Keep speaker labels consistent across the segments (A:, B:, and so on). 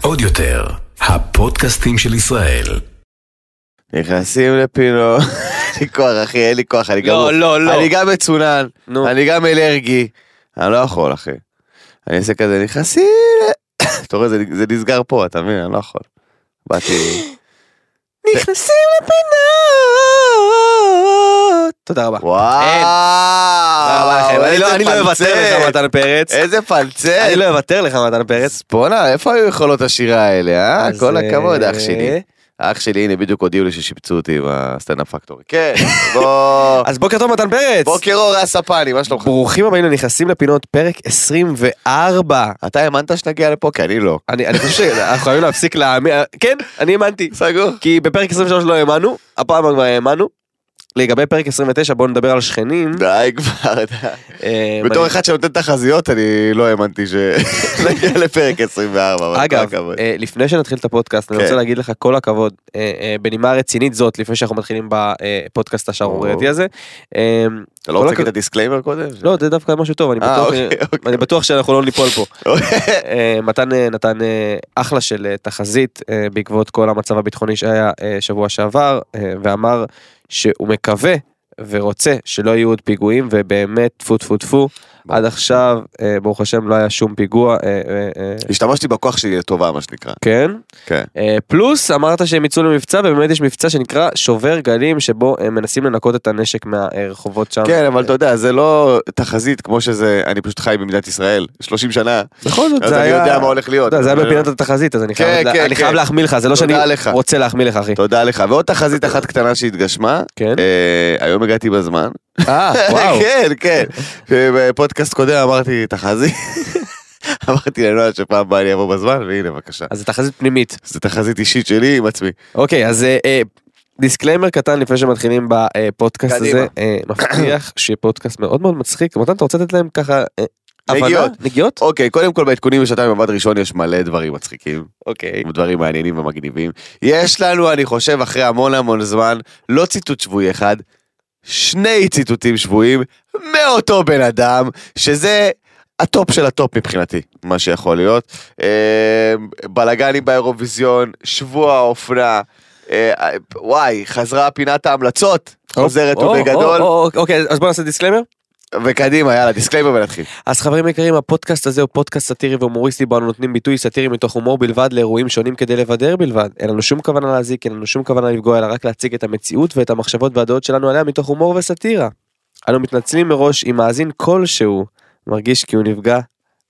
A: עוד יותר, הפודקאסטים של ישראל.
B: נכנסים לפינו, אין לי כוח אחי, אין לי כוח, אני גם...
C: לא, לא, לא.
B: אני גם מצונן, אני גם אלרגי. אני לא יכול אחי. אני עושה כזה נכנסים, ל- אתה רואה זה זה נסגר פה, אתה מבין? אני לא יכול. באתי,
C: נכנסים לפינות. תודה רבה. אין. תודה רבה לכם.
B: וואו,
C: אני לא-
B: איזה
C: אני לא
B: פלצט,
C: אוותר לך מתן פרץ.
B: איזה פלצט.
C: אני לא אוותר לך מתן פרץ.
B: אז בואנה, איפה היו יכולות השירה האלה, אה?
C: אז,
B: כל הכבוד,
C: אה,
B: אח שלי. אח שלי, הנה, בדיוק הודיעו לי ששיפצו אותי עם הסטנדאפ פקטורי. כן, בוא...
C: אז בוקר טוב מתן פרץ.
B: בוקר אור הספני, מה שלומך?
C: ברוכים הבאים לנכנסים לפינות פרק 24.
B: אתה האמנת שנגיע לפה? כי אני לא.
C: אני אני חושב שאנחנו חייבים להפסיק להאמין, כן, אני האמנתי.
B: סגור.
C: כי בפרק 23 לא האמנו, הפעם כבר האמנו. לגבי פרק 29 בואו נדבר על שכנים.
B: די כבר, די.
C: אה,
B: בתור
C: אני-
B: אחד שנותן תחזיות, אני לא האמנתי שנגיע לפרק 24. אבל
C: אגב,
B: כל הכבוד.
C: אה, לפני שנתחיל את הפודקאסט, אני
B: כן.
C: רוצה להגיד לך כל הכבוד, אה, אה, בנימה רצינית זאת, לפני שאנחנו מתחילים בפודקאסט השערורייתי
B: או.
C: הזה. אה,
B: אתה לא רוצה
C: כל
B: להגיד
C: הכ-
B: את הדיסקליימר קודם?
C: לא, זה דווקא משהו טוב, אני
B: אה,
C: בטוח-
B: אוקיי, אוקיי.
C: אני בטוח שאנחנו לא ניפול פה.
B: אוקיי.
C: אה, מתן אה, נתן אה, אחלה של אה, תחזית אה, בעקבות כל המצב הביטחוני שהיה אה, שבוע שעבר, אה, ואמר שהוא מקווה ורוצה שלא יהיו עוד פיגועים, ובאמת טפו טפו טפו, עד עכשיו אה, ברוך השם לא היה שום פיגוע, אה, אה, אה,
B: השתמשתי בכוח שלי לטובה, מה שנקרא.
C: כן.
B: כן.
C: אה, פלוס אמרת שהם יצאו למבצע, ובאמת יש מבצע שנקרא שובר גלים, שבו הם מנסים לנקות את הנשק מהרחובות שם.
B: כן, אבל אתה יודע, זה לא תחזית כמו שזה, אני פשוט חי במדינת ישראל 30 שנה,
C: בכל זאת
B: אז
C: זה
B: אני
C: היה...
B: יודע מה הולך להיות. אה,
C: אתה יודע, זה היה
B: אבל-
C: בפינת התחזית, אז אני
B: כן,
C: חייב-
B: כן,
C: אני
B: כן.
C: חייב להחמיא לך, זה לא שאני
B: תודה לך.
C: רוצה להחמיא לך, אחי.
B: תודה לך. ועוד תחזית אחת קטנה שהתגשמה,
C: כן.
B: אה, היום הגעתי בזמן.
C: אה, וואו.
B: כן, כן. בפודקאסט קודם אמרתי תחזית. אמרתי לנועה שפעם הבאה אני אבוא בזמן, והנה בבקשה.
C: אז זה תחזית פנימית.
B: זו תחזית אישית שלי עם עצמי.
C: אוקיי, אז אה, אה, דיסקליימר קטן לפני שמתחילים בפודקאסט
B: קדימה.
C: הזה. אה, מבטיח שיהיה פודקאסט מאוד מאוד מצחיק. מתן, אתה רוצה לתת להם ככה... אה, הבנה?
B: נגיעות.
C: נגיעות?
B: אוקיי, קודם כל בעדכונים בשעתיים במבט ראשון יש מלא דברים מצחיקים.
C: אוקיי.
B: עם דברים מעניינים ומגניבים. יש לנו, אני חושב, אחרי המון המון זמן, לא ציטוט שבועי אחד, שני ציטוטים שבועיים מאותו בן אדם, שזה הטופ של הטופ מבחינתי, מה שיכול להיות. אה, בלאגנים באירוויזיון, שבוע האופנה, אה, אה, וואי, חזרה פינת ההמלצות, חוזרת
C: או, או,
B: ובגדול,
C: או, או, אוקיי, אז בוא נעשה דיסקליימר.
B: וקדימה, יאללה, דיסקליימר ונתחיל.
C: אז חברים יקרים, הפודקאסט הזה הוא פודקאסט סאטירי והומוריסטי, בו אנו נותנים ביטוי סאטירי מתוך הומור בלבד לאירועים שונים כדי לבדר בלבד. אין לנו שום כוונה להזיק, אין לנו שום כוונה לפגוע, אלא רק להציג את המציאות ואת המחשבות והדעות שלנו עליה מתוך הומור וסאטירה. אנו מתנצלים מראש אם מאזין כלשהו מרגיש כי הוא נפגע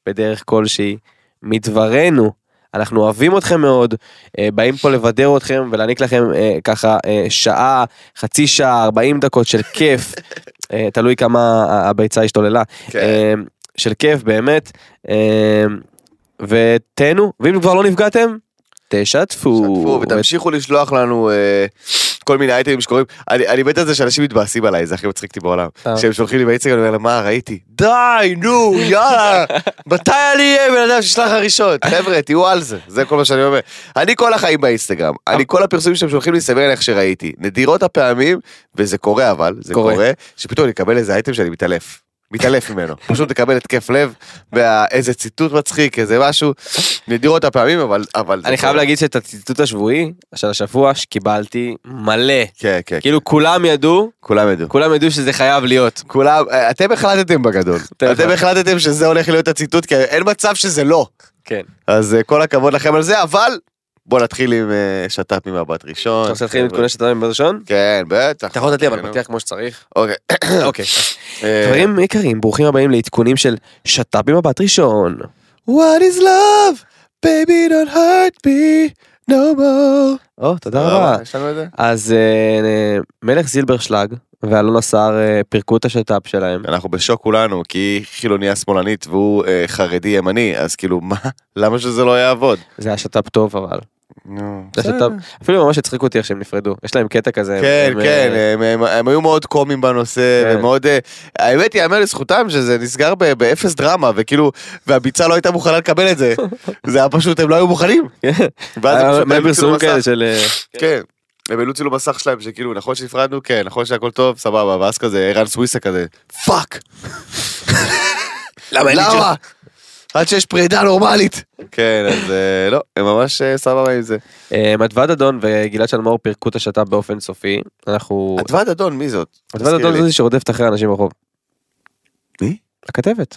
C: בדרך כלשהי מדברנו. אנחנו אוהבים אתכם מאוד, אה, באים פה לבדר אתכם ולהעניק לכם אה, ככה אה, שעה, חצי שעה, 40 דקות של כיף, אה, תלוי כמה ה- הביצה השתוללה. אמ, של כיף באמת. אמ, ותהנו, ואם כבר לא נפגעתם, תשתפו.
B: שתפו ותמשיכו לשלוח לנו אה, כל מיני אייטמים שקורים. אני אני מת על זה שאנשים מתבאסים עליי, זה הכי מצחיק אותי בעולם.
C: אה.
B: שהם שולחים לי באינסטגרם, אני אומר להם, מה ראיתי? די, נו, יאללה, מתי אני אהיה בן אדם שישלח הראשון? חבר'ה, תהיו על זה, זה כל מה שאני אומר. אני כל החיים באינסטגרם,
C: אה.
B: אני כל הפרסומים שהם שולחים לי, סביר על איך שראיתי. נדירות הפעמים, וזה קורה אבל, זה
C: קורה.
B: קורה, שפתאום אני אקבל איזה אייטם שאני מתעלף. מתעלף ממנו, פשוט תקבל התקף לב, ואיזה ציטוט מצחיק, איזה משהו, נדירות הפעמים, אבל... אבל זה
C: אני חייב
B: קורה.
C: להגיד שאת הציטוט השבועי של השבוע שקיבלתי מלא.
B: כן, כן,
C: כאילו כולם ידעו,
B: כולם ידעו.
C: כולם ידעו שזה חייב להיות.
B: כולם, אה, אתם החלטתם בגדול.
C: אתם
B: אתם החלטתם שזה הולך להיות הציטוט, כי אין מצב שזה לא.
C: כן.
B: אז אה, כל הכבוד לכם על זה, אבל בואו נתחיל עם אה, שת"פ ממבט ראשון.
C: אתה רוצה להתחיל עם עדכוני שאתה בראשון?
B: כן, בטח.
C: אתה יכול לתת לי אבל
B: כן,
C: פתיח כמו שצריך.
B: אוקיי.
C: אוקיי.
B: אה,
C: חברים יקרים, ברוכים הבאים לעדכונים של שת"פ במבט ראשון.
B: What is love? Baby don't hurt me no more.
C: או, תודה
B: לא
C: רבה.
B: יש לנו את זה?
C: אז אה, אה, מלך זילברשלג ואלונה סער אה, פירקו את השת"פ שלהם.
B: אנחנו בשוק כולנו, כי היא חילוניה שמאלנית והוא אה, חרדי ימני, אז כאילו, מה? למה שזה לא יעבוד?
C: זה היה שת"פ טוב אבל.
B: נו,
C: זה
B: בסדר.
C: שת"פ, אפילו ממש הצחיקו אותי איך שהם נפרדו. יש להם קטע כזה.
B: כן,
C: הם,
B: כן,
C: אה,
B: הם, הם, הם היו מאוד קומיים בנושא,
C: כן.
B: ומאוד, אה, האמת היא, יאמר לזכותם שזה נסגר ב- באפס דרמה, וכאילו, והביצה לא הייתה מוכנה לקבל את זה. זה היה פשוט, הם לא היו מוכנים.
C: כן.
B: ואז אה, הם
C: היה
B: פשוט
C: מלא
B: העלו צילום
C: פרסומים כאלה
B: מסך.
C: של... אה,
B: כן. הם העלו צילום מסך שלהם, שכאילו, נכון שנפרדנו, כן, נכון שהכל טוב, סבבה, ואז כזה, ערן סוויסה כזה, פאק!
C: למה?
B: עד שיש פרידה נורמלית. כן, אז אה, לא, הם ממש אה, סבבה עם זה.
C: אה, מדווד אדון וגלעד שלמור פירקו את השת"פ באופן סופי. אנחנו...
B: אדווד אדון, מי זאת?
C: מדווד
B: תזכיר
C: אדון
B: לי.
C: זה שרודפת אחרי אנשים ברחוב.
B: מי?
C: הכתבת.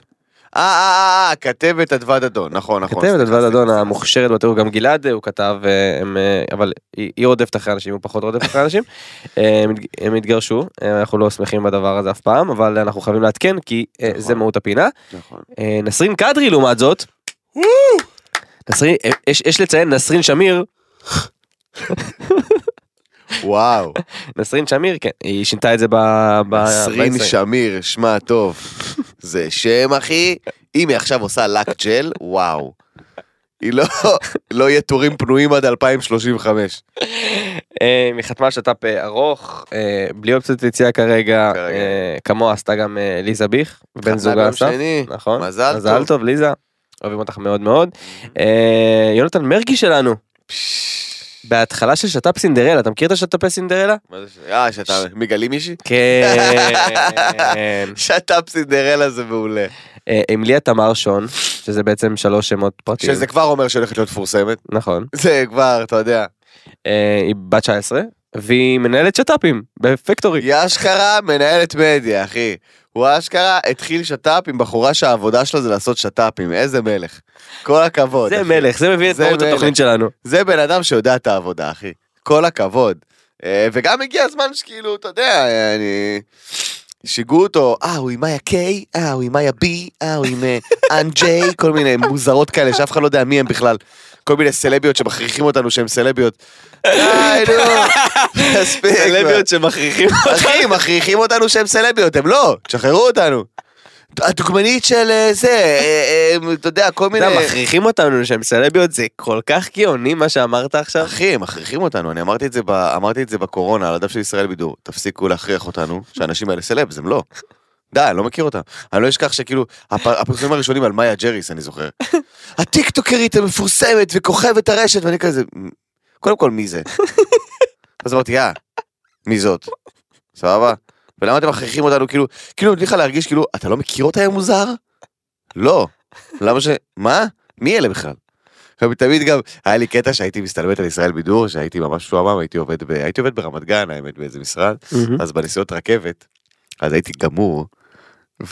B: אה, אה, אה, אה, כתבת אדווד אדון, נכון, נכון.
C: כתבת
B: סליחה,
C: אדווד אדון
B: סליחה,
C: המוכשרת בטרור, גם גלעד אה, הוא כתב, אה, הם, אה, אבל היא היא רודפת אחרי אנשים, הוא פחות רודף אחרי אנשים. אה, הם התג- הם התגרשו, אה, אנחנו לא שמחים בדבר הזה אף פעם, אבל אנחנו חייבים לעדכן כי אה, זה
B: נכון.
C: מהות הפינה.
B: סליחה, נכון.
C: אה, נסרין קדרי לעומת זאת. נסרין, אה, יש- יש לציין נסרין שמיר,
B: וואו,
C: נסרין שמיר, כן, היא שינתה את זה ב... ב-
B: נסרין
C: באינסטגרם.
B: שמיר, שמה טוב. זה שם, אחי. אם היא עכשיו עושה לק ג'ל, וואו. היא לא, לא יהיה טורים פנויים עד 2035.
C: אה, היא חתמה על שת"פ אה, ארוך, אה, בלי אופציית יציאה כרגע,
B: כרגע.
C: אה, כמוה עשתה גם אה, ליזה ביך, בן
B: חתנה
C: זוגה
B: ביום
C: עשה,
B: שני.
C: נכון,
B: מזל
C: מזל
B: טוב.
C: טוב ליזה, אוהבים אותך מאוד מאוד. אה, יונתן מרגי שלנו, בהתחלה של שת"פ סינדרלה, אתה מכיר את השת"פי סינדרלה?
B: מה זה ש... אה, שאתה מגלים מישהי?
C: כן.
B: שת"פ סינדרלה זה מעולה.
C: אה, עם ליה תמר שון, שזה בעצם שלוש שמות פרטיים.
B: שזה כבר אומר שהולכת להיות מפורסמת.
C: נכון.
B: זה כבר, אתה יודע.
C: אה, היא בת 19, והיא מנהלת שת"פים בפקטורי.
B: היא אשכרה מנהלת מדיה, אחי. הוא אשכרה התחיל שת"פ עם בחורה שהעבודה שלה זה לעשות שת"פים, איזה מלך. כל הכבוד.
C: זה
B: אחי.
C: מלך, זה מבין את
B: זה
C: מהות
B: מלך.
C: התוכנית שלנו.
B: זה בן אדם שיודע את העבודה, אחי. כל הכבוד. אה, וגם הגיע הזמן שכאילו, אתה יודע, אני... שיגעו אותו, אה, הוא עם מאיה קיי, אה, הוא עם מאיה בי, אה, הוא עם אה, אן ג'יי, כל מיני מוזרות כאלה שאף אחד לא יודע מי הם בכלל. כל מיני סלביות שמכריחים אותנו שהן סלביות. די, נו, מספיק. כבר.
C: סלביות שמכריחים.
B: אחי, מכריחים אותנו שהן סלביות, הם לא, תשחררו אותנו. הדוגמנית של אה, זה, אה, אה, אתה יודע, כל
C: אתה
B: מיני...
C: יודע, מכריחים אותנו שהם סלביות, זה כל כך גאוני מה שאמרת עכשיו.
B: אחי, הם מכריחים אותנו, אני אמרתי את זה, ב, אמרתי את זה בקורונה, על הדף של ישראל בידור, תפסיקו להכריח אותנו, שהאנשים האלה סלבס, הם לא. די, אני לא מכיר אותם. אני לא אשכח שכאילו, הפ- הפרסומים הראשונים על מאיה ג'ריס, אני זוכר. הטיקטוקרית המפורסמת וכוכבת הרשת, ואני כזה, "מ- קודם כל, מי זה? אז אמרתי, אה, מי זאת? סבבה? ולמה אתם מכריחים אותנו, כאילו, כאילו, נותנים לך להרגיש כאילו, אתה לא מכיר אותה, יא מוזר? לא. למה ש... מה? מי אלה בכלל? עכשיו, תמיד גם, היה לי קטע שהייתי מסתלבט על ישראל בידור, שהייתי ממש משועמם, הייתי עובד ב... הייתי עובד ברמת גן, האמת, באיזה משרד,
C: Mm-hmm.
B: אז בנסיעות רכבת, אז הייתי גמור,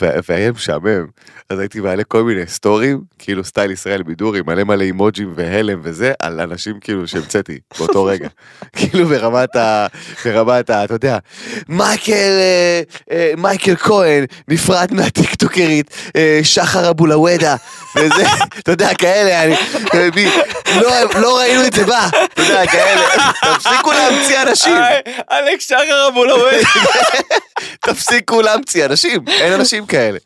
B: ו- והיה משעמם, אז הייתי מעלה כל מיני סטורים, כאילו סטייל ישראל בידור, עם מלא מלא אימוג'ים והלם וזה, על אנשים כאילו שהמצאתי באותו רגע. כאילו ברמת ה... ברמת ה... אתה יודע, מייקל... אה, אה, מייקל כהן נפרד מהטיקטוקרית אה, שחר אבולאוודה, וזה, אתה יודע, כאלה, אני... אה, מי- לא- לא ראינו את זה בא, אתה יודע, כאלה. תפסיקו להמציא אנשים.
C: אלכס שחר אבולאווי.
B: תפסיקו להמציא אנשים, אין אנשים כאלה.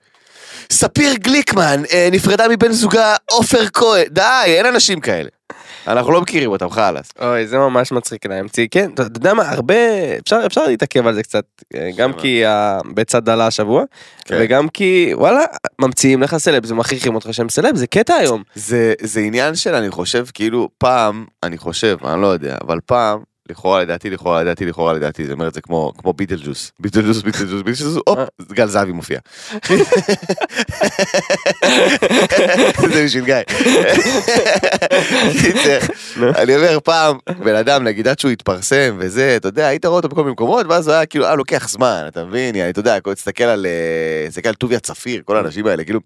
B: ספיר גליקמן אה, נפרדה מבן זוגה עופר כהן, די, אין אנשים כאלה. אנחנו לא מכירים אותם, חלאס.
C: אוי, זה ממש מצחיק להמציא. כן, אתה אתה יודע מה, הרבה, אפשר אפשר להתעכב על זה קצת, אה, גם
B: שמה?
C: כי הביצת דלה השבוע,
B: כן.
C: וגם כי, וואלה, ממציאים לך סלבס ומכריחים אותך שהם סלבס, זה קטע היום.
B: זה, זה עניין של, אני חושב, כאילו, פעם, אני חושב, אני לא יודע, אבל פעם, לכאורה לדעתי, לכאורה לדעתי, לכאורה לדעתי, זה אומר את זה כמו, כמו ביטלג'וס, ביטלג'וס, ביטלג'וס, ביטלג'וס, הופ, גל זהבי מופיע. זה בשביל גיא. קיצר, אני אומר פעם, בן אדם, נגיד עד שהוא התפרסם וזה, אתה יודע, היית רואה אותו בכל מיני מקומות, ואז הוא היה כאילו, אה, לוקח זמן, אתה מבין, יעני, אתה יודע, כאילו, תסתכל על, אה, תסתכל על טוביה צפיר, כל האנשים האלה, כאילו,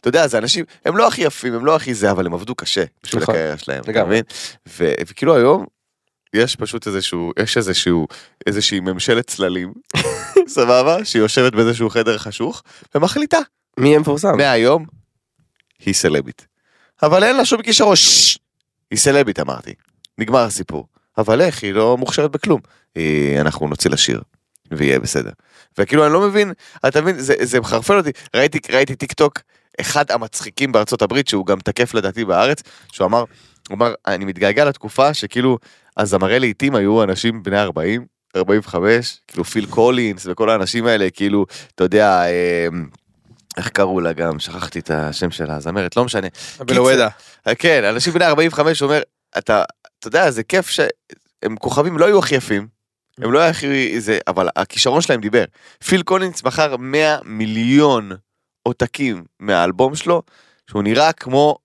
B: אתה יודע, זה אנשים, הם לא הכי יפים, הם לא הכי זה, אבל הם עבדו קשה בשביל
C: נכון.
B: הקריירה שלהם, אתה
C: לגמרי.
B: מבין? ו- וכאילו היום, יש פשוט איזשהו, יש איזשהו, איזושהי ממשלת צללים, סבבה? שהיא יושבת באיזשהו חדר חשוך, ומחליטה,
C: מי יהיה מפורסם?
B: מהיום, היא סלבית. אבל אין לה שום כישרון, ששש, היא סלבית אמרתי, נגמר הסיפור. אבל איך, היא לא מוכשרת בכלום. היא- אנחנו נוציא לה שיר, ויהיה בסדר. וכאילו אני לא מבין, אתה מבין, זה, זה מחרפן אותי, ראיתי, ראיתי טיק טוק, אחד המצחיקים בארצות הברית, שהוא גם תקף לדעתי בארץ, שהוא אמר, הוא אמר, אני מתגעגע לתקופה שכאילו, הזמרי לעיתים היו אנשים בני 40, 45, כאילו פיל קולינס וכל האנשים האלה, כאילו, אתה יודע, אה, איך קראו לה גם, שכחתי את השם שלה, הזמרת, לא משנה.
C: אבולאוודה.
B: אה, כן, אנשים בני 45 אומר, אתה, אתה יודע, זה כיף שהם כוכבים לא היו הכי יפים, הם לא היו הכי, זה, אבל הכישרון שלהם דיבר. פיל קולינס מכר 100 מיליון עותקים מהאלבום שלו, שהוא נראה כמו,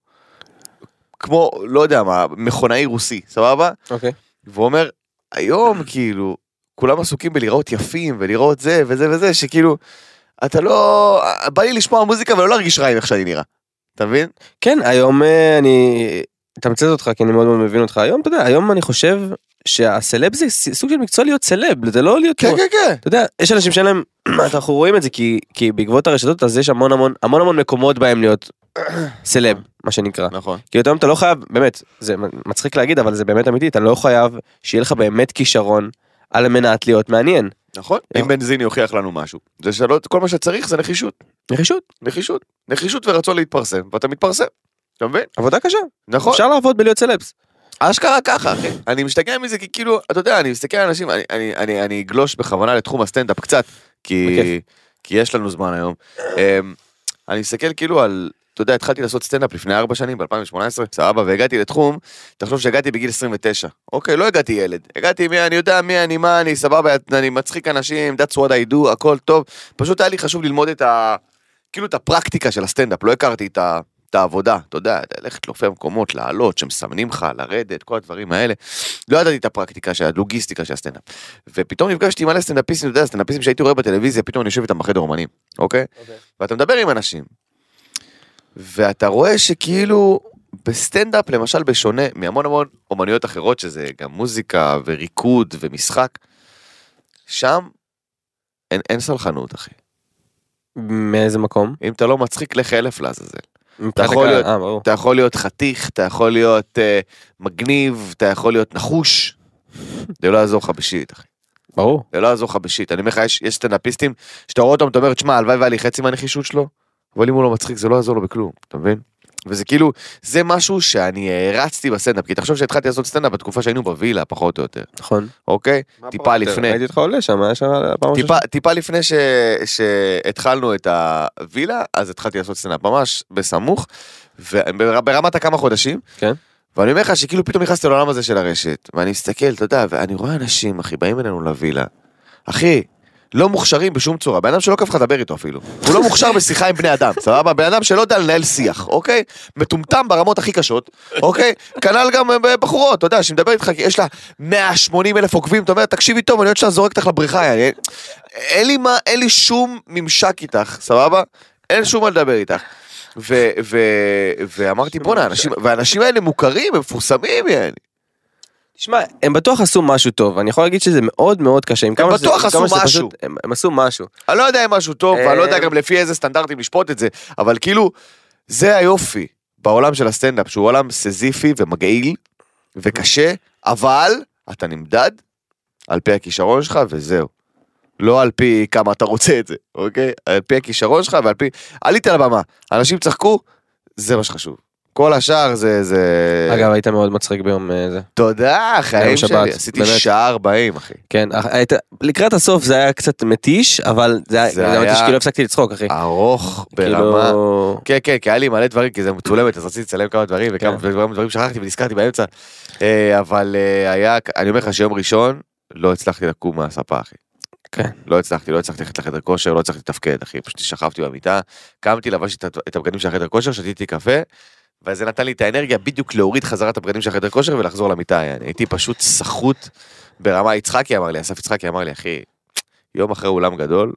B: כמו, לא יודע מה, מכונאי רוסי, סבבה?
C: אוקיי.
B: והוא אומר, היום כאילו, כולם עסוקים בלראות יפים ולראות זה וזה וזה, שכאילו, אתה לא... בא לי לשמוע מוזיקה ולא להרגיש רע עם איך שאני נראה. אתה מבין?
C: כן, היום אה, אני אתמצת אותך כי אני מאוד מאוד מבין אותך. היום, אתה יודע, היום אני חושב שהסלב זה ס- סוג של מקצוע להיות סלב, זה לא להיות...
B: כן, כן.
C: אתה יודע, יש אנשים שאין להם, אנחנו רואים את זה כי, כי בעקבות הרשתות אז יש המון המון המון המון מקומות בהם להיות סלב, מה שנקרא.
B: נכון.
C: כי היום אתה לא חייב, באמת, זה מצחיק להגיד אבל זה באמת אמיתי, אתה לא חייב שיהיה לך באמת כישרון על מנת להיות מעניין.
B: נכון. אם בנזיני הוכיח לנו משהו, זה שלא... כל מה שצריך זה נחישות.
C: נחישות,
B: נחישות. נחישות ורצון להתפרסם, ואתה מתפרסם. אתה מבין?
C: עבודה קשה,
B: נכון.
C: אפשר לעבוד בלהיות סלבס.
B: אשכרה ככה, אחי. אני משתגע מזה כי כאילו, אתה יודע, אני מסתכל על אנשים, אני, אני, אני, אני אגלוש בכוונה לתחום הסטנדאפ קצת, כי,
C: בכיף.
B: כי יש לנו זמן היום. אמ, אני מסתכל כאילו על, אתה יודע, התחלתי לעשות סטנדאפ לפני ארבע שנים, ב-2018, סבבה, והגעתי לתחום, תחשוב שהגעתי בגיל 29. אוקיי, לא הגעתי ילד. הגעתי מי, אני יודע מי אני, מה אני, סבבה, אני מצחיק אנשים, that's what I do, הכל טוב. פשוט היה לי חשוב ללמוד את ה... כאילו את הפרקטיקה של הסטנדאפ, לא הכרתי את ה... את העבודה, אתה יודע, ללכת להופיע במקומות, לעלות, שמסמנים לך, לרדת, כל הדברים האלה. לא ידעתי את הפרקטיקה של הלוגיסטיקה של הסטנדאפ. ופתאום נפגשתי עם מלא סטנדאפיסטים, אתה יודע, סטנדאפיסטים שהייתי רואה בטלוויזיה, פתאום אני יושב איתם בחדר אומנים, אוקיי?
C: אוקיי.
B: ואתה מדבר עם אנשים. ואתה רואה שכאילו, בסטנדאפ, למשל, בשונה מהמון המון אומנויות אחרות, שזה גם מוזיקה וריקוד ומשחק, שם אין, אין סלחנות, אחי.
C: מאיזה מקום?
B: אם אתה לא מצחיק, לך אלף לעזאזל.
C: אתה
B: יכול להיות-
C: אה, ברור.
B: אתה יכול להיות חתיך, אתה יכול להיות אה, מגניב, אתה יכול להיות נחוש. זה לא יעזור לך בשיט, אחי.
C: ברור.
B: זה לא יעזור לך בשיט. אני אומר לך, יש, יש סטנדאפיסטים שאתה רואה אותם, אתה אומר, תשמע, הלוואי והיה לי חצי מהנחישות שלו, אבל אם הוא לא מצחיק, זה לא יעזור לו בכלום, אתה מבין? וזה כאילו, זה משהו שאני הרצתי בסטנדאפ, כי תחשוב שהתחלתי לעשות סטנדאפ בתקופה שהיינו בווילה, פחות או יותר,
C: נכון.
B: אוקיי? טיפה לפני.
C: ראיתי אותך עולה שם, היה שם
B: אה,
C: פעם ראשונה.
B: טיפה, טיפה לפני ש... שהתחלנו את הווילה, אז התחלתי לעשות סצנה ממש בסמוך, וברמת הכמה חודשים.
C: כן.
B: ואני אומר לך שכאילו פתאום נכנסתי לעולם הזה של הרשת, ואני מסתכל, אתה יודע, ואני רואה אנשים, אחי, באים אלינו לווילה. אחי, לא מוכשרים בשום צורה, בן אדם שלא כיף לך לדבר איתו אפילו. הוא לא מוכשר בשיחה עם בני אדם, סבבה? בן אדם שלא יודע לנהל שיח, אוקיי? מטומטם ברמות הכי קשות, אוקיי? כנ"ל גם אה, בחורות, אתה יודע, שמדבר איתך, כי יש לה 180 אלף עוקבים, אתה אומר, תקשיבי טוב, אני עוד שנייה זורק אותך לבריכה, יעני." אין לי מה, אין לי שום ממשק איתך, סבבה? אין שום מה לדבר איתך. ו- ו- ואמרתי, בואנה, האנשים- והאנשים האלה מוכרים, הם מפורסמים, יעני.
C: תשמע, הם בטוח עשו משהו טוב, אני יכול להגיד שזה מאוד מאוד קשה. הם
B: בטוח עשו משהו.
C: הם, הם עשו משהו.
B: אני לא יודע אם משהו טוב, ואני לא יודע
C: אה,
B: גם לפי איזה סטנדרטים לשפוט את זה, אבל כאילו, זה היופי בעולם של הסטנדאפ, שהוא עולם סזיפי ומגעיל וקשה, אבל אתה נמדד על פי הכישרון שלך וזהו. לא על פי כמה אתה רוצה את זה, אוקיי? על פי הכישרון שלך ועל פי... עלית לבמה, אנשים צחקו, זה מה שחשוב. כל השאר זה... זה...
C: אגב, היית מאוד מצחיק ביום אה, זה.
B: תודה,
C: יום
B: חיים
C: שבת,
B: שלי, עשיתי
C: באמת.
B: שעה 40, אחי.
C: כן, אח- היית, לקראת הסוף זה היה קצת מתיש, אבל זה היה,
B: זה
C: זה היה...
B: היה-
C: שכאילו הפסקתי לצחוק, אחי.
B: ארוך ברמה...
C: כאילו...
B: כן, כן, כי היה לי מלא דברים, כי זה מצולמת, אז רציתי לצלם כמה דברים, וכמה
C: כן.
B: וכמה דברים שכחתי ונזכרתי באמצע. אה, אבל אה, היה, אני אומר לך שיום ראשון, לא הצלחתי לקום מהספה, אחי.
C: כן.
B: לא הצלחתי, לא הצלחתי ללכת לחדר כושר, לא הצלחתי לתפקד, אחי. פשוט שכבתי במיטה, קמתי, לבשתי את ה- את הבגדים של החדר כושר, שתיתי קפה, וזה נתן לי את האנרגיה בדיוק להוריד חזרה את הבגדים של החדר כושר ולחזור למיטה. יעני. הייתי פשוט סחוט ברמה, יצחקי אמר לי, אסף יצחקי אמר לי, אחי, יום אחרי אולם גדול,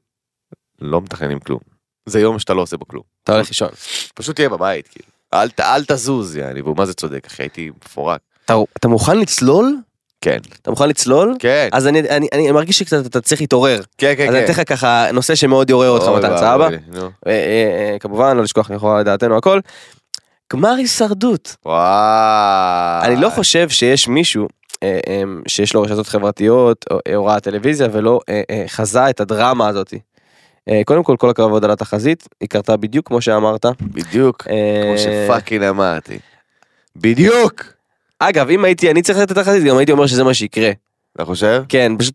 B: לא מתכננים כלום. זה יום שאתה לא עושה בו כלום.
C: אתה הולך לישון.
B: פשוט תהיה בבית, כאילו. אל, ת- אל תזוז, יעני, והוא מה זה צודק, אחי, הייתי מפורק.
C: אתה, אתה מוכן לצלול?
B: כן.
C: אתה מוכן לצלול?
B: כן,
C: אז אני, אני, אני, אני מרגיש שקצת אתה צריך להתעורר.
B: כן, כן,
C: אז אני
B: כן.
C: אתן לך ככה נושא שמאוד יעורר אותך
B: אוי
C: מתן,
B: ואבוי
C: סבבה?
B: לי, נו.
C: אה, אה, אה, כמובן, לא לשכוח לכאורה לדעתנו הכל. גמר הישרדות.
B: וואי.
C: אני לא חושב שיש מישהו אה, אה, שיש לו רשתות חברתיות או אה, הוראת טלוויזיה ולא אה, אה, חזה את הדרמה הזאת. אה, קודם כל כל הכבוד על התחזית היא קרתה בדיוק כמו שאמרת.
B: בדיוק,
C: אה,
B: כמו שפאקינג אמרתי. בדיוק!
C: אה, אגב אם הייתי אני צריך לתת את התחזית גם הייתי אומר שזה מה שיקרה.
B: אתה חושב?
C: כן פשוט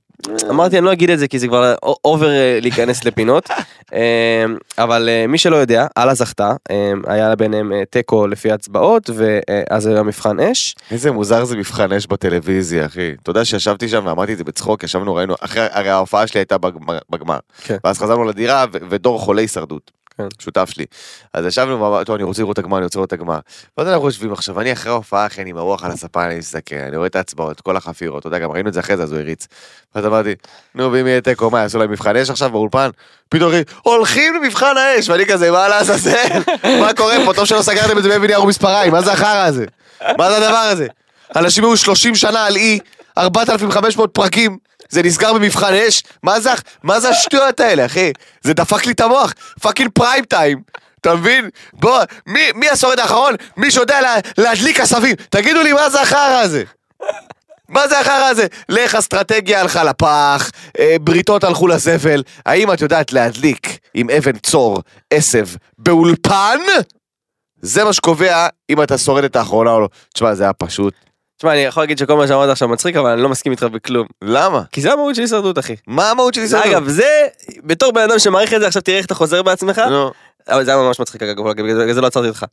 C: אמרתי אני לא אגיד את זה כי זה כבר אובר להיכנס לפינות. אה, אבל אה, מי שלא יודע אללה זכתה אה, היה ביניהם אה, תיקו לפי הצבעות ואז היה מבחן אש.
B: איזה מוזר זה מבחן אש בטלוויזיה, אחי. אתה יודע שישבתי שם ואמרתי את זה בצחוק, ישבנו, ראינו, אחרי, הרי ההופעה שלי הייתה בגמר. בגמר.
C: כן.
B: ואז חזרנו לדירה, ו- ודור חולה הישרדות.
C: כן.
B: שותף שלי. אז ישבנו, והוא אמר, טוב, אני רוצה לראות את הגמר, אני רוצה לראות את הגמר. ואז אנחנו יושבים עכשיו, אני אחרי ההופעה, אחי, אני עם הרוח על הספה, אני מסתכל, אני רואה את ההצבעות, כל החפירות, אתה יודע, גם ראינו את זה אחרי זה, אז הוא הריץ. ואז אמרתי, נו, ואם יהיה תיקו, מה, יעשו להם מבחן אש עכשיו באולפן? פתאום אחי, הולכים למבחן האש, ואני כזה, מה לעזאזל? מה קורה פה? טוב שלא סגרתם את זה באבן יער ומספריים, מה זה החרא הזה? מה זה הדבר הזה? אנשים היו 30 שנה על אי, 4,500 פרקים, זה נסגר במבחן אש? מה זה, מה זה השטויות האלה, אחי? זה דפק לי את המוח, פאקינג פריים טיים. אתה מבין? בוא, מי, מי השורד האחרון? מי שיודע לה, להדליק עשבים? תגידו לי, מה זה החרא הזה? מה זה החרא הזה? לך אסטרטגיה הלכה לפח, אה, בריתות הלכו לזבל. האם את יודעת להדליק עם אבן צור עשב באולפן? זה מה שקובע אם אתה שורד את האחרונה או לא. תשמע, זה היה פשוט.
C: תשמע, אני יכול להגיד שכל מה שאמרת עכשיו מצחיק, אבל אני לא מסכים איתך בכלום.
B: למה?
C: כי זה המהות של הישרדות, אחי.
B: מה המהות של הישרדות?
C: אגב, זה, בתור בן אדם שמעריך את זה, עכשיו תראה איך אתה חוזר בעצמך.
B: נו.
C: אבל זה היה ממש מצחיק, אגב, בגלל זה לא עצרתי אותך.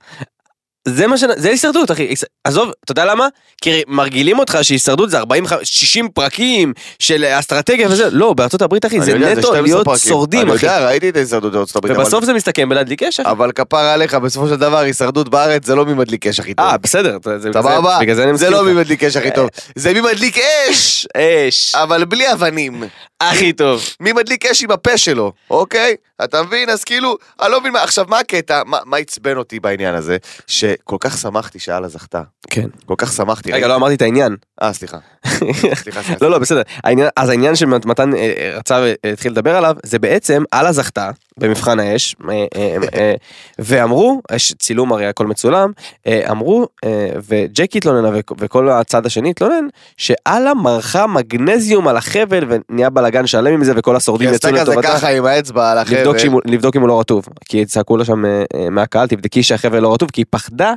C: זה מה ש... זה הישרדות, אחי. היש- עזוב, אתה יודע למה? כי מרגילים אותך שהישרדות זה 40, 60 פרקים של אסטרטגיה וזה. לא, בארצות הברית, אחי,
B: אני
C: זה
B: יודע,
C: נטו
B: 12
C: להיות
B: פרקים.
C: שורדים,
B: אני
C: אחי.
B: יודע, ראיתי את ההישרדות בארצות הברית. אבל-
C: ובסוף זה מסתכם בלהדליק אש, אחי.
B: אבל כפרה עליך, בסופו של דבר, הישרדות בארץ זה לא מי מדליק אש הכי טוב.
C: אה, בסדר. אתה- זה-
B: סבבה?
C: בגלל זה אני
B: זה
C: מסכים
B: לא מי
C: איתך. אה.
B: מדליק אש הכי טוב. זה מי מדליק אש,
C: אש.
B: אבל בלי אבנים.
C: הכי טוב.
B: מי מדליק אש עם הפה שלו, אוקיי? אתה מבין? אז כאילו, אני לא מבין מה... עכשיו, מה הקטע? מה מה עצבן אותי בעניין הזה? שכל כך שמחתי שאללה זכתה.
C: כן.
B: כל כך שמחתי.
C: רגע, לא אמרתי את העניין.
B: אה, סליחה. סליחה, סליחה.
C: לא, לא, בסדר. העניין, אז העניין שמתן אה, אה, רצה והתחיל לדבר עליו, זה בעצם, אללה זכתה במבחן האש, אה, אה, אה, ואמרו, יש צילום הרי הכל מצולם, אה, אמרו, אה, וג'קי התלוננה וכ- וכל הצד השני התלונן, שאללה מרחה מגנזיום על החבל ונהיה בלאגן שלם עם זה וכל
B: היא
C: השורדים
B: עשתה
C: יצאו
B: כזה
C: לטובתה.
B: ככה עם האצבע על החבר'ה.
C: לבדוק, שימו, לבדוק אם הוא לא רטוב, כי צעקו לו שם אה, אה, מהקהל, תבדקי שהחבל לא רטוב, כי היא פחדה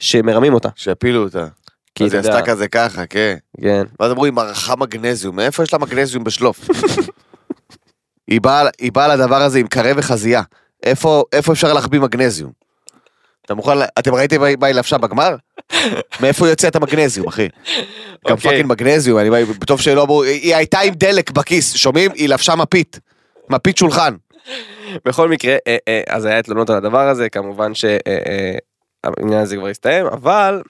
C: שמרמים אותה.
B: שיפילו אותה.
C: כי
B: אז היא
C: אתה
B: עשתה
C: יודע,
B: כזה ככה, כן.
C: כן.
B: ואז אמרו, היא מרחה מגנזיום, מאיפה יש לה מגנזיום בשלוף? היא באה- היא באה לדבר הזה עם קרה וחזייה. איפה איפה אפשר להחביא מגנזיום? אתה מוכן, ל- אתם ראיתם מה היא- מה היא לבשה בגמר? מאיפה יוצא את המגנזיום, אחי? גם
C: אוקיי.
B: פאקינג מגנזיום, אני טוב שלא אמרו, היא- היא הייתה עם דלק בכיס, שומעים? היא לבשה מפית. מפית שולחן.
C: בכל מקרה, אה, אה, אז היה תלונות על הדבר הזה, כמובן שהעניין הזה כבר הסתיים, אבל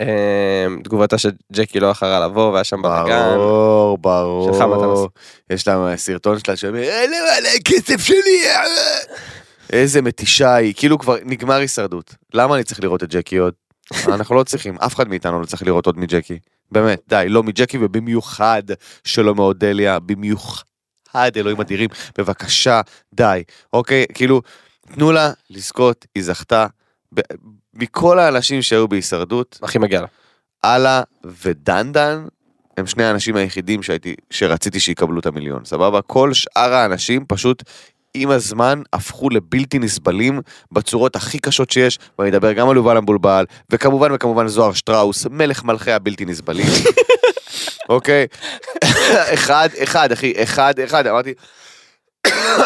C: אה, תגובתה של ג'קי לא אחרה לבוא, והיה שם בלאגן.
B: ברור, ברור.
C: שלך, מתנס.
B: יש לה סרטון שלה שאומר, אלה על לא, הכסף שלי. אה." איזה מתישה היא, כאילו כבר נגמר הישרדות. למה אני צריך לראות את ג'קי עוד? אנחנו לא צריכים, אף אחד מאיתנו לא צריך לראות עוד מג'קי. באמת, די, לא מג'קי ובמיוחד שלא מאודליה, במיוחד, אלוהים אדירים, בבקשה, די. אוקיי, כאילו, תנו לה לזכות, היא זכתה. ב- מכל האנשים שהיו בהישרדות,
C: הכי מגיע לה.
B: אללה ודנדן הם שני האנשים היחידים שהייתי, שרציתי שיקבלו את המיליון, סבבה? כל שאר האנשים פשוט עם הזמן הפכו לבלתי נסבלים בצורות הכי קשות שיש, ואני אדבר גם על יובל המבולבל, וכמובן וכמובן זוהר שטראוס, מלך מלכי הבלתי נסבלים. אוקיי? אחד, אחד, אחי, אחד, אחד, אמרתי...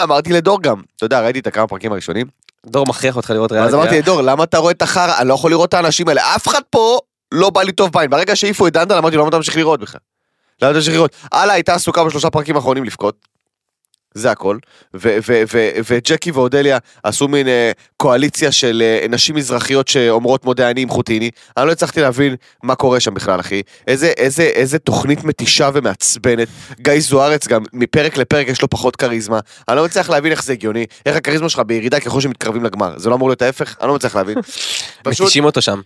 B: אמרתי לדור גם, אתה יודע, ראיתי את הכמה פרקים הראשונים,
C: דור מכריח אותך לראות ריאליטי. אה?
B: אז אמרתי לדור, למה אתה רואה את החרא? אני לא יכול לראות את האנשים האלה. אף אחד פה לא בא לי טוב בעין. ברגע שהעיפו את דנדל, אמרתי לו, למה אתה ממשיך לראות בכלל? למה אתה ממשיך לראות? הלאה, הייתה עסוקה בשלושה פרקים האחרונים לבכות. זה הכל. ו- ו- ו- וג'קי ואודליה עשו מין אה, קואליציה של אה, נשים מזרחיות שאומרות מודה אני עם חוטיני. אני לא הצלחתי להבין מה קורה שם בכלל, אחי. איזה, איזה, איזה תוכנית מתישה ומעצבנת. גיא זוארץ גם, מפרק לפרק יש לו פחות כריזמה. אני לא מצליח להבין איך זה הגיוני, איך הכריזמה שלך בירידה ככל שמתקרבים לגמר. זה לא אמור להיות ההפך? אני לא מצליח להבין. פשוט
C: מתישים אותו שם.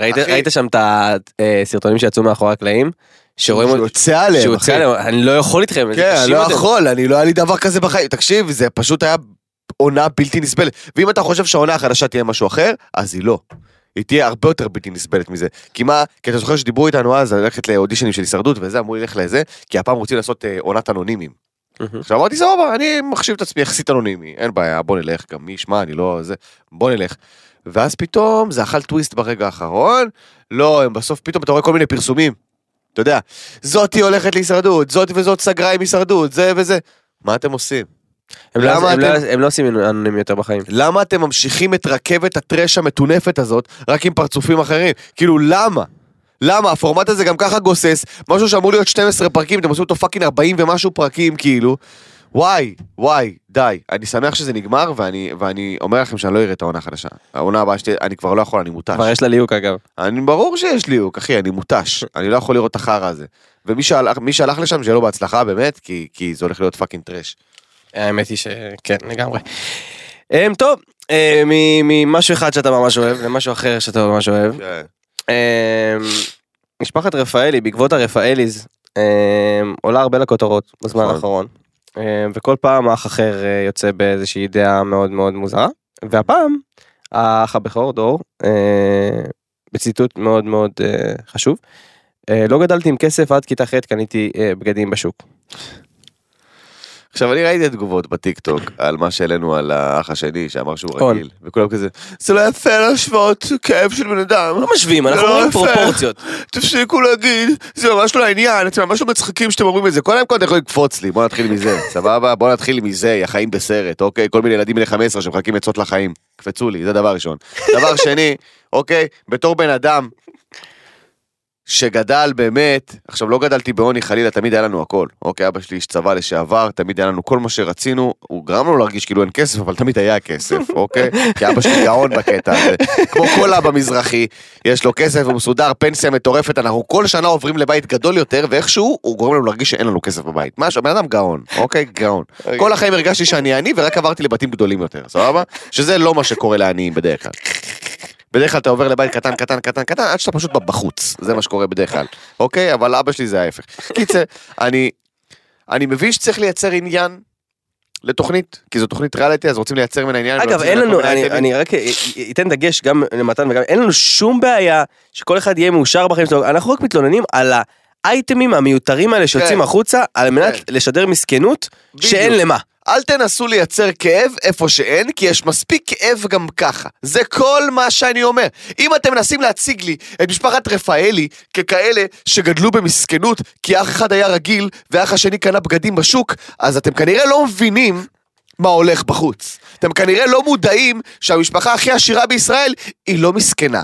C: ראית,
B: אחי.
C: ראית שם את הסרטונים שיצאו מאחורי הקלעים? שרואים
B: שהוא
C: אותו,
B: יוצא עליהם,
C: שהוא
B: אחי.
C: יוצא עליהם, אני לא יכול איתכם. זה
B: כן, אני
C: מתישים
B: לא
C: אותם.
B: יכול, אני לא היה לי דבר כזה בחיים. תקשיב, זה פשוט היה עונה בלתי נסבלת. ואם אתה חושב שהעונה החדשה תהיה משהו אחר, אז היא לא. היא תהיה הרבה יותר בלתי נסבלת מזה. כי מה, כי אתה זוכר שדיברו איתנו אז על ללכת לאודישנים של הישרדות וזה, אמרו לי לך לזה, כי הפעם רוצים לעשות אה, עונת אנונימים.
C: מהמם.
B: עכשיו אמרתי סבבה, אני מחשיב את עצמי יחסית אנונימי, אין בעיה, בוא נלך, גם מי ישמע, אני לא... זה, בוא נלך. ואז פתאום זה אכל טוויסט ברגע האחרון, לא, הם בסוף פתאום אתה רואה כל מיני פרסומים. אתה יודע, זאתי הולכת להישרדות, זאת וזאת סגרה עם הישרדות, זה וזה. מה אתם עושים?
C: הם לא-
B: למה
C: הם לא-
B: אתם-
C: הם לא עושים אנונים יותר בחיים.
B: למה אתם ממשיכים את רכבת הטרש המטונפת הזאת רק עם פרצופים אחרים? כאילו, למה? למה? הפורמט הזה גם ככה גוסס, משהו שאמור להיות 12 פרקים, אתם עושים אותו פאקינג 40 ומשהו פרקים, כאילו. וואי, וואי, די, אני שמח שזה נגמר, ואני, ואני אומר לכם שאני לא אראה את העונה החדשה. העונה הבאה שלי, אני כבר לא יכול, אני מותש.
C: כבר יש לה ליהוק אגב.
B: אני, ברור שיש ליהוק, אחי, אני מותש. אני לא יכול לראות את החרא הזה. ומי שהלך, מי שהלך לשם, שיהיה לו בהצלחה, באמת, כי, כי זה הולך להיות פאקינג טרש.
C: האמת היא שכן, לגמרי. אמ, טוב, אה, מ- ממשהו אחד שאתה ממש אוהב למשהו אחר שאתה ממש אוהב. אמ, משפחת רפאלי, בעקבות הרפאליז, אמ, עולה הרבה לכותרות בזמן
B: נכון.
C: האחרון. אמ, וכל פעם האח אחר אה, יוצא באיזושהי דעה מאוד מאוד מוזרה. והפעם, האח הבכור, דור, אה, בציטוט מאוד מאוד אה, חשוב, אה, לא גדלתי עם כסף עד כיתה ח' קניתי אה, בגדים בשוק.
B: עכשיו, אני ראיתי תגובות בטיקטוק על מה שהעלינו על האח השני, שאמר שהוא
C: און.
B: רגיל. וכולם כזה, זה לא יפה להשוות כאב של בן אדם.
C: לא משווים, אנחנו
B: לא
C: רואים
B: יפה.
C: פרופורציות.
B: תפסיקו להגיד, זה ממש לא העניין, אתם ממש לא מצחיקים שאתם אומרים את זה. קודם כל אתם יכולים לקפוץ לי, בוא נתחיל מזה, סבבה? בוא נתחיל מזה, החיים בסרט, אוקיי? כל מיני ילדים בני 15 שמחכים עצות לחיים, קפצו לי, זה דבר ראשון. דבר שני, אוקיי? בתור בן אדם שגדל באמת, עכשיו לא גדלתי בעוני חלילה, תמיד היה לנו הכל. אוקיי, אבא שלי איש צבא לשעבר, תמיד היה לנו כל מה שרצינו, הוא גרם לנו להרגיש כאילו אין כסף, אבל תמיד היה כסף, אוקיי? כי אבא שלי גאון בקטע הזה. כמו כל אבא מזרחי, יש לו כסף, הוא מסודר, פנסיה מטורפת, אנחנו כל שנה עוברים לבית גדול יותר, ואיכשהו הוא גורם לנו להרגיש שאין לנו כסף בבית. משהו, בן אדם גאון, אוקיי? גאון. כל החיים הרגשתי שאני עני, ורק עברתי לבתים גדולים יותר, סבבה? שזה לא מה שקורה לעניים בדרך כלל. בדרך כלל אתה עובר לבית קטן, קטן, קטן, קטן, עד שאתה פשוט בחוץ, זה מה שקורה בדרך כלל, אוקיי? אבל אבא שלי זה ההפך. קיצר, אני, אני מבין שצריך לייצר עניין לתוכנית, כי זו תוכנית ריאליטי, אז רוצים לייצר ממנה עניין.
C: אגב,
B: ורוצים
C: אין
B: לכל
C: לנו,
B: מיני
C: אני-
B: אייטמים.
C: אני רק אה, אה, אתן דגש גם למתן וגם, אין לנו שום בעיה שכל אחד יהיה מאושר בחיים שלו, אנחנו רק מתלוננים על האייטמים המיותרים האלה שיוצאים
B: כן.
C: החוצה, על מנת
B: כן.
C: לשדר מסכנות
B: בדיוק.
C: שאין למה.
B: אל תנסו לייצר כאב איפה שאין, כי יש מספיק כאב גם ככה. זה כל מה שאני אומר. אם אתם מנסים להציג לי את משפחת רפאלי ככאלה שגדלו במסכנות, כי אח אחד היה רגיל ואח השני קנה בגדים בשוק, אז אתם כנראה לא מבינים מה הולך בחוץ. אתם כנראה לא מודעים שהמשפחה הכי עשירה בישראל היא לא מסכנה.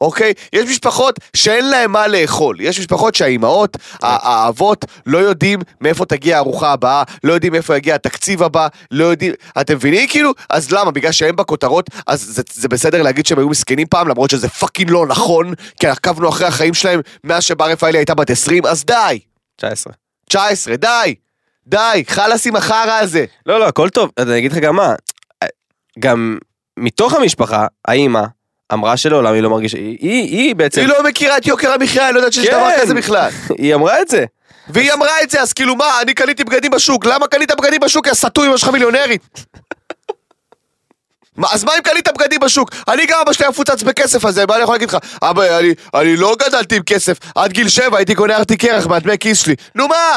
B: אוקיי? יש משפחות שאין להן מה לאכול. יש משפחות שהאימהות, ה- האבות, לא יודעים מאיפה תגיע הארוחה הבאה, לא יודעים מאיפה יגיע התקציב הבא, לא יודעים... אתם מבינים כאילו? אז למה? בגלל שהם בכותרות, אז זה, זה בסדר להגיד שהם היו מסכנים פעם, למרות שזה פאקינג לא נכון, כי עקבנו אחרי החיים שלהם מאז שבר רפאלי הייתה בת 20, אז די!
C: 19.
B: 19, די! די! חלאס עם החרא הזה!
C: לא, לא, הכל טוב, אז אני אגיד לך גם מה, גם מתוך המשפחה, האימא אמרה שלעולם היא לא מרגישה, היא- היא היא בעצם,
B: היא לא מכירה את יוקר המחיה, היא לא יודעת שיש
C: כן.
B: דבר כזה בכלל.
C: היא אמרה את זה.
B: והיא אמרה את זה, אז כאילו מה, אני קניתי בגדים בשוק, למה קנית בגדים בשוק? יא סטוי, אמא שלך מיליונרית. מה, אז מה אם קנית בגדים בשוק? אני גם אבא שלי היה מפוצץ בכסף הזה, מה אני יכול להגיד לך? אבא, אני, אני לא גדלתי עם כסף, עד גיל שבע הייתי קונה ארטיק קרח מהדמי כיס שלי. נו מה?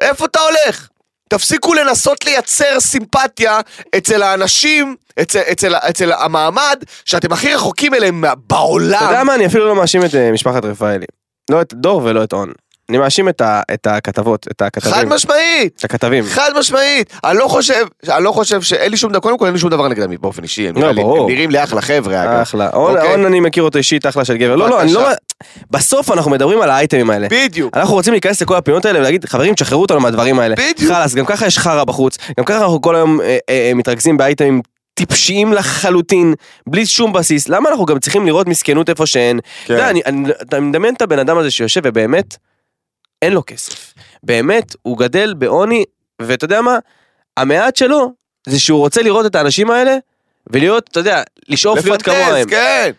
B: איפה אתה הולך? תפסיקו לנסות לייצר סימפתיה אצל האנשים, אצל, אצל, אצל המעמד, שאתם הכי רחוקים אליהם מה-
C: אתה יודע
B: בעולם.
C: מה, אני אפילו לא מאשים את אה, משפחת רפאלי. לא את דור ולא את און. אני מאשים את ה- את הכתבות, את
B: חד
C: הכתבים.
B: משמעית!
C: את הכתבים.
B: חד משמעית, אני לא חושב, אני לא חושב שאין לי שום דבר, קודם כל אין לי שום דבר נגדם באופן אישי, הם
C: לא,
B: נראים לי-
C: ברור. אה.
B: הם נראים לי אחלה חבר'ה אגב.
C: אחלה. און,
B: אוקיי.
C: און אני מכיר אותו אישית, אחלה של גבר. לא, לא, אני לא... בסוף אנחנו מדברים על האייטמים האלה.
B: בדיוק.
C: אנחנו רוצים להיכנס לכל הפינות האלה ולהגיד, חברים, תשחררו אותנו מהדברים האלה.
B: בדיוק.
C: חלאס, גם ככה יש חרא בחוץ, גם ככה אנחנו כל היום אה, אה, מתרכזים באייטמים טיפשיים לחלוטין, בלי שום בסיס. למה אנחנו גם צריכים לראות מסכנות איפה שאין?
B: כן.
C: אתה יודע, לא, אני- אני- אתה מדמיין את הבן אדם הזה שיושב ובאמת, אין לו כסף. באמת, הוא גדל בעוני, ואתה יודע מה? המעט שלו זה שהוא רוצה לראות את האנשים האלה, ולהיות, אתה יודע, לשאוף להיות כמוהם.
B: כן.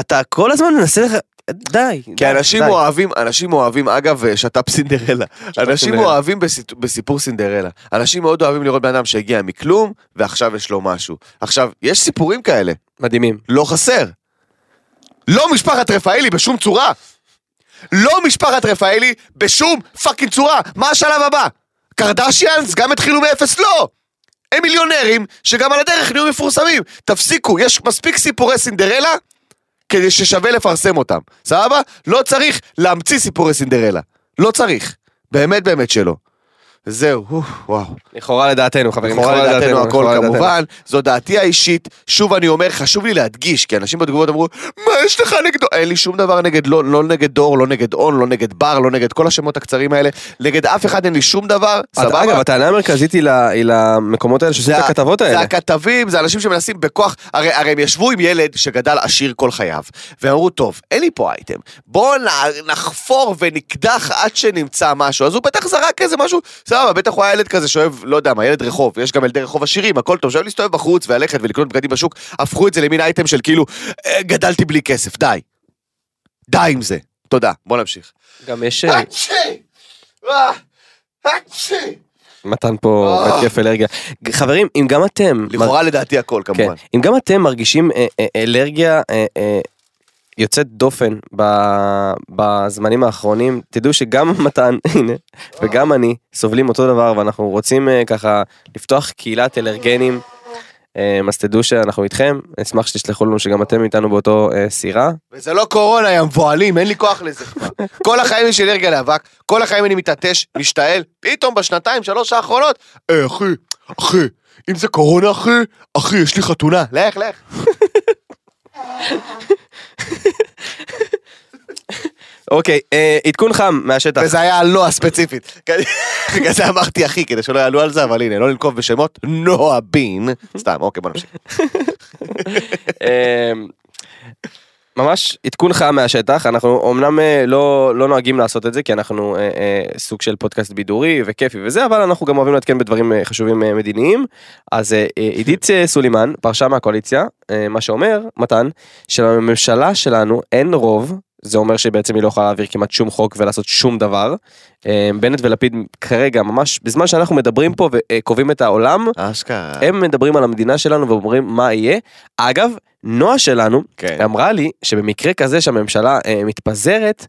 C: אתה כל הזמן מנסה לך... די. די,
B: כי אנשים
C: כן, די.
B: אוהבים, אנשים אוהבים, אגב, אה, שת"פ סינדרלה. אנשים
C: סינדרלה.
B: אוהבים בסיט- בסיפור סינדרלה. אנשים מאוד אוהבים לראות בן אדם שהגיע מכלום, ועכשיו יש לו משהו. עכשיו, יש סיפורים כאלה,
C: מדהימים.
B: לא חסר. לא משפחת רפאלי בשום צורה. לא משפחת רפאלי בשום פאקינג צורה. מה השלב הבא? קרדשיאנס גם התחילו מאפס? לא! הם מיליונרים שגם על הדרך נהיו מפורסמים. תפסיקו, יש מספיק סיפורי סינדרלה כדי ששווה לפרסם אותם. סבבה? לא צריך להמציא סיפורי סינדרלה. לא צריך. באמת באמת שלא. זהו, אוף, וואו.
C: לכאורה לדעתנו, חברים.
B: לכאורה לדעתנו הכל
C: לכאורה לדעתנו.
B: כמובן, זו דעתי האישית. שוב אני אומר, חשוב לי להדגיש, כי אנשים בתגובות אמרו, מה יש לך נגדו? אין לי שום דבר נגד, לא, לא נגד דור, לא נגד און, לא נגד בר, לא נגד כל השמות הקצרים האלה. נגד אף אחד אין לי שום דבר,
C: סבבה. אגב,
B: סבבה?
C: הטענה המרכזית היא ל- היא למקומות האלה שעושים את
B: ה-
C: הכתבות
B: זה
C: האלה.
B: הכתבים, זה אנשים שמנסים בכוח, הרי, הרי הם ישבו עם ילד שגדל עשיר כל חייו, והם אמרו, טוב, אין לי פה אייטם, בואו נ- נחפור ונקדח עד שנמצא משהו, אז הוא בטח זרק איזה משהו, סבבה, בטח הוא היה ילד כזה שאוהב, לא יודע מה, ילד רחוב, יש גם ילדי רחוב עשירים, הכל טוב, שאוהב להסתובב בחוץ וללכת ולקנות בגדים בשוק, הפכו את זה למין אייטם של כאילו, "אה, גדלתי בלי כסף, די. די עם זה. תודה, בוא נמשיך.
C: גם יש... אה,
B: אצ'י! אה, אצ'י!
C: מתן פה
B: אה.
C: התקף אלרגיה. ג- חברים, אם גם אתם...
B: לכאורה לדעתי הכל
C: כן.
B: כמובן.
C: אם גם אתם מרגישים אה, אה, אלרגיה אה, אה, יוצאת דופן ב- בזמנים האחרונים, תדעו שגם מתן, הנה, וגם אני סובלים אותו דבר ואנחנו רוצים אה, ככה לפתוח קהילת אלרגנים. אה, אז תדעו שאנחנו איתכם, אשמח שתשלחו לנו שגם אתם איתנו באותו אה, סירה.
B: וזה לא קורונה, יא מבוהלים, אין לי כוח לזה כבר. כל החיים יש אלרגיה לאבק, כל החיים אני מתעטש, משתעל, פתאום בשנתיים, שלוש האחרונות, אה, אחי, אחי, אם זה קורונה, אחי, אחי, יש לי חתונה, לך, לך.
C: אוקיי, אה, עדכון חם מהשטח.
B: וזה היה הלואה ספציפית. כן, בגלל זה אמרתי אחי, כדי שלא יעלו על זה, אבל הנה, לא לנקוב בשמות, נועה בין. סתם, אוקיי, בוא נמשיך.
C: אה, ממש עדכון חם מהשטח אנחנו אמנם אה, לא לא נוהגים לעשות את זה כי אנחנו אה, אה, סוג של פודקאסט בידורי וכיפי וזה אבל אנחנו גם אוהבים לעדכן בדברים אה, חשובים אה, מדיניים אז אה, אה, עידית אה, סולימן פרשה מהקואליציה אה, מה שאומר מתן שלממשלה שלנו אין רוב. זה אומר שבעצם היא לא יכולה להעביר כמעט שום חוק ולעשות שום דבר. אה, בנט ולפיד כרגע ממש בזמן שאנחנו מדברים פה וקובעים את העולם
B: אשכרה.
C: הם מדברים על המדינה שלנו ואומרים מה יהיה. אגב, נועה שלנו
B: כן.
C: אמרה לי שבמקרה כזה שהממשלה אה, מתפזרת,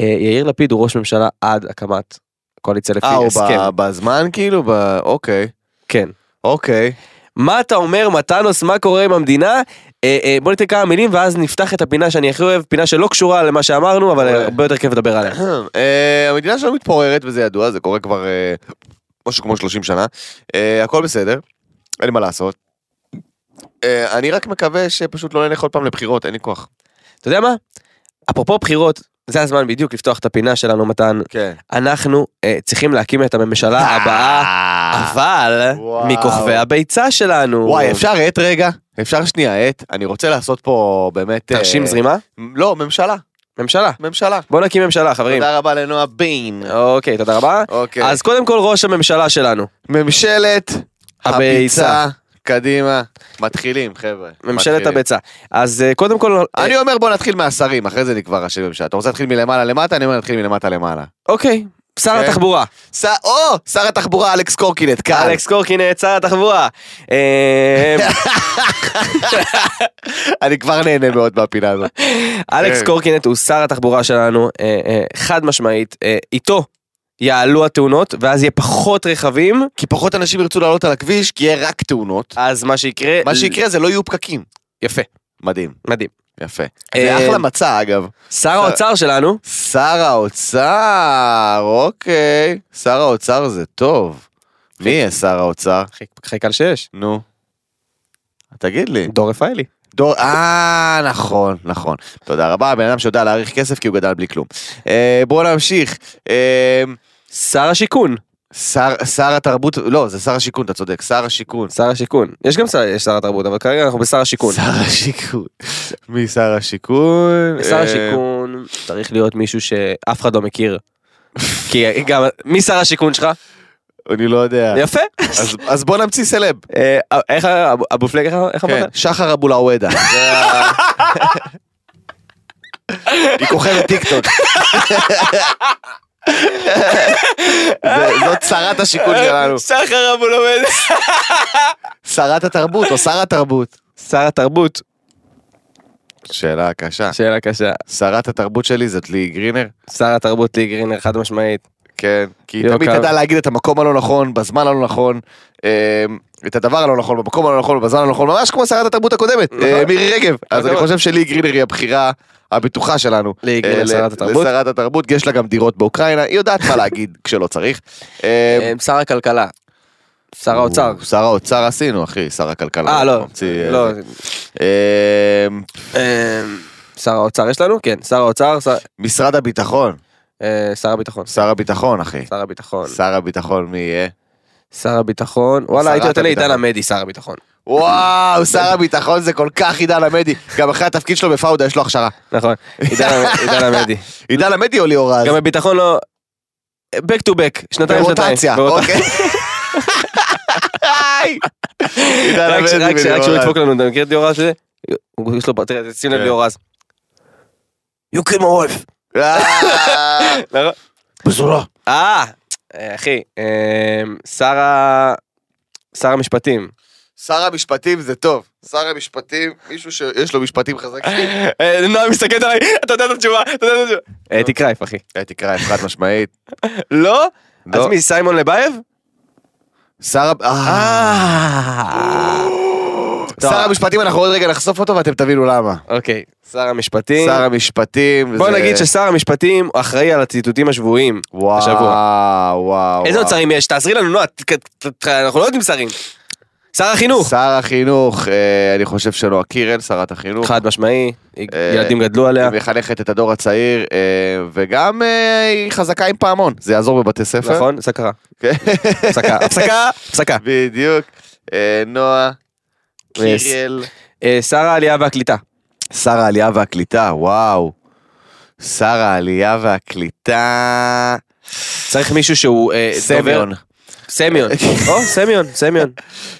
C: אה, יאיר לפיד הוא ראש ממשלה עד הקמת קואליציה לפי
B: אה, הוא
C: הסכם.
B: ב- בזמן כאילו? ב- אוקיי.
C: כן.
B: אוקיי.
C: מה אתה אומר, מתנוס, מה קורה עם המדינה? אה, אה, בוא ניתן כמה מילים ואז נפתח את הפינה שאני הכי אוהב, פינה שלא קשורה למה שאמרנו, אבל
B: אוהב.
C: הרבה יותר כיף לדבר עליה.
B: אה, המדינה שלנו מתפוררת וזה ידוע, זה קורה כבר אה, משהו כמו 30 שנה. אה, הכל בסדר, אין לי מה לעשות. אה, אני רק מקווה שפשוט לא נלך עוד פעם לבחירות, אין לי כוח.
C: אתה יודע מה? אפרופו בחירות, זה הזמן בדיוק לפתוח את הפינה שלנו, מתן.
B: כן.
C: אנחנו אה, צריכים להקים את הממשלה
B: אה,
C: הבאה. אה. אבל
B: וואו.
C: מכוכבי הביצה שלנו.
B: וואי, אפשר עט רגע? אפשר שנייה עט? אני רוצה לעשות פה באמת... אה,
C: תרשים זרימה?
B: לא, ממשלה,
C: ממשלה.
B: ממשלה.
C: בוא נקים ממשלה חברים.
B: תודה רבה לנועה בין.
C: אוקיי תודה רבה.
B: אוקיי.
C: אז קודם כל ראש הממשלה שלנו.
B: ממשלת
C: הביצה.
B: הביצה. קדימה. מתחילים, חבר'ה.
C: ממשלת
B: מתחילים.
C: הביצה. אז אה, קודם כל... אה,
B: אני אומר בוא נתחיל מהשרים, אחרי זה נקבע ראשי ממשלה. אתה רוצה להתחיל מלמעלה למטה? אני אומר נתחיל מלמטה למעלה.
C: אוקיי. שר
B: כן.
C: התחבורה.
B: ס- או, שר התחבורה אלכס קורקינט, קל.
C: אלכס קורקינט שר התחבורה. אה,
B: כן. אני כבר נהנה מאוד מהפינה הזאת.
C: אלכס
B: כן.
C: קורקינט הוא שר התחבורה שלנו אה, אה, חד משמעית. אה, איתו. יעלו התאונות ואז יהיה פחות רכבים
B: כי פחות אנשים ירצו לעלות על הכביש, כי יהיה רק תאונות.
C: אז מה שיקרה
B: מה שיקרה זה לא יהיו פקקים.
C: יפה
B: מדהים,
C: מדהים
B: יפה.
C: אה,
B: זה אחלה מצע אגב.
C: שר האוצר שלנו
B: שר האוצר, אוקיי. שר האוצר זה טוב. מי יהיה שר האוצר?
C: הכי קל שיש
B: נו. תגיד לי.
C: דור רפאלי
B: דור, אה, נכון, נכון. תודה רבה, בן אדם שיודע להעריך כסף כי הוא גדל בלי כלום. אה, בואו נמשיך. אה,
C: שר השיכון
B: שר, שר התרבות, לא, זה שר השיכון, אתה צודק, שר השיכון.
C: שר השיכון. יש גם שר, יש שר התרבות, אבל כרגע אנחנו בשר השיכון.
B: שר השיכון. מי שר השיכון?
C: שר
B: אה,
C: השיכון צריך להיות מישהו שאף אחד לא מכיר. כי גם, מי שר השיכון שלך?
B: אני לא יודע.
C: יפה.
B: אז- אז בוא נמציא סלב.
C: אה, איך ה- אבו- אבו פלג, איך- איך
B: כן,
C: אמרת?
B: שחר אבולעוודה. זה ה- היא כוכבת טיקטוק. זה- זאת שרת
C: כן,
B: השיכון שלנו.
C: סחר אבו לומד.
B: שרת התרבות או שר התרבות.
C: שר התרבות.
B: שאלה קשה.
C: שאלה קשה.
B: שרת התרבות שלי זאת לי גרינר?
C: שר התרבות לי גרינר חד משמעית.
B: כן, כי היא
C: יוקר.
B: תמיד תדע להגיד את המקום הלא נכון, בזמן הלא נכון, אה, את הדבר הלא נכון, במקום הלא נכון, בזמן הלא נכון, ממש כמו שרת התרבות הקודמת, אה,
C: נכון.
B: מירי רגב. אז אני
C: נכון.
B: חושב שלי גרינר היא הבחירה הבטוחה שלנו.
C: לי גרינר,
B: אה, ל-
C: שרת התרבות.
B: לשרת התרבות, יש לה גם דירות באוקראינה, היא יודעת מה להגיד כשלא צריך. אה,
C: אה, שר הכלכלה. שר האוצר.
B: שר האוצר עשינו, אחי, שר הכלכלה.
C: אה, לא.
B: ממציא, אה,
C: לא.
B: זה. אה,
C: אה, שר האוצר יש לנו? כן. שר האוצר, שר-
B: משרד הביטחון,
C: אה, שר הביטחון.
B: שר הביטחון, אחי.
C: שר הביטחון.
B: שר הביטחון, מי יהיה?
C: שר הביטחון. וואלה, הייתי נותן לעידן
B: הביטחון.
C: עמדי שר הביטחון.
B: וואו, שר הביטחון זה כל כך עידן עמדי. גם אחרי התפקיד שלו בפאודה יש לו הכשרה.
C: נכון. עידן עידן עמדי.
B: עידן עמדי או ליאור רז?
C: גם הביטחון לא... back to back, שנתיים שנתיים.
B: ברוטציה,
C: ברוט-
B: אוקיי. עידן
C: רק ש-
B: עמדי
C: רק ש- רק
B: וליאור
C: שהוא
B: רז.
C: ידפוק לנו, אתה מכיר את ליאור רז שזה? הוא- יש לו פטריה, שים לב
B: כן.
C: ליאור רז. You kill my wife.
B: אה,
C: נכון.
B: בזורה.
C: אה, אחי, אה, שר ה... שר המשפטים.
B: שר המשפטים זה טוב. שר המשפטים, מישהו שיש לו משפטים חזקים.
C: אה, נועה מסתכלת עליי, אתה יודע את התשובה, אתה יודע את התשובה. אה, אתי קרייף, אחי.
B: אתי קרייב, חד משמעית.
C: לא?
B: לא.
C: אז מי, סיימון לבייב?
B: שר ה- אה. שר המשפטים, אנחנו עוד רגע נחשוף אותו ואתם תבינו למה.
C: אוקיי, שר המשפטים.
B: שר המשפטים.
C: בוא
B: זה-
C: נגיד ששר המשפטים אחראי על הציטוטים השבועיים.
B: וואו,
C: השבוע.
B: וואו, וואו.
C: איזה עוד שרים יש? תעזרי לנו, נועה, ת- ת- ת- אנחנו לא יודעים שרים. שר החינוך.
B: שר החינוך, אה, אני חושב שנועה קירל, שרת החינוך.
C: חד משמעי,
B: אה,
C: ילדים גדלו עליה.
B: היא מחנכת את הדור הצעיר, אה, וגם אה, היא חזקה עם פעמון, זה יעזור בבתי ספר.
C: נכון? סקרה.
B: כן.
C: הפסקה, הפסקה, הפסקה.
B: בדיוק. אה, נועה
C: יס.
B: קירל.
C: אה, שר העלייה והקליטה.
B: שר העלייה והקליטה, וואו. שר העלייה
C: אה,
B: והקליטה...
C: צריך מישהו שהוא... אה, דובר-
B: סמיון.
C: סמיון. אה, כן. או, סמיון, סמיון.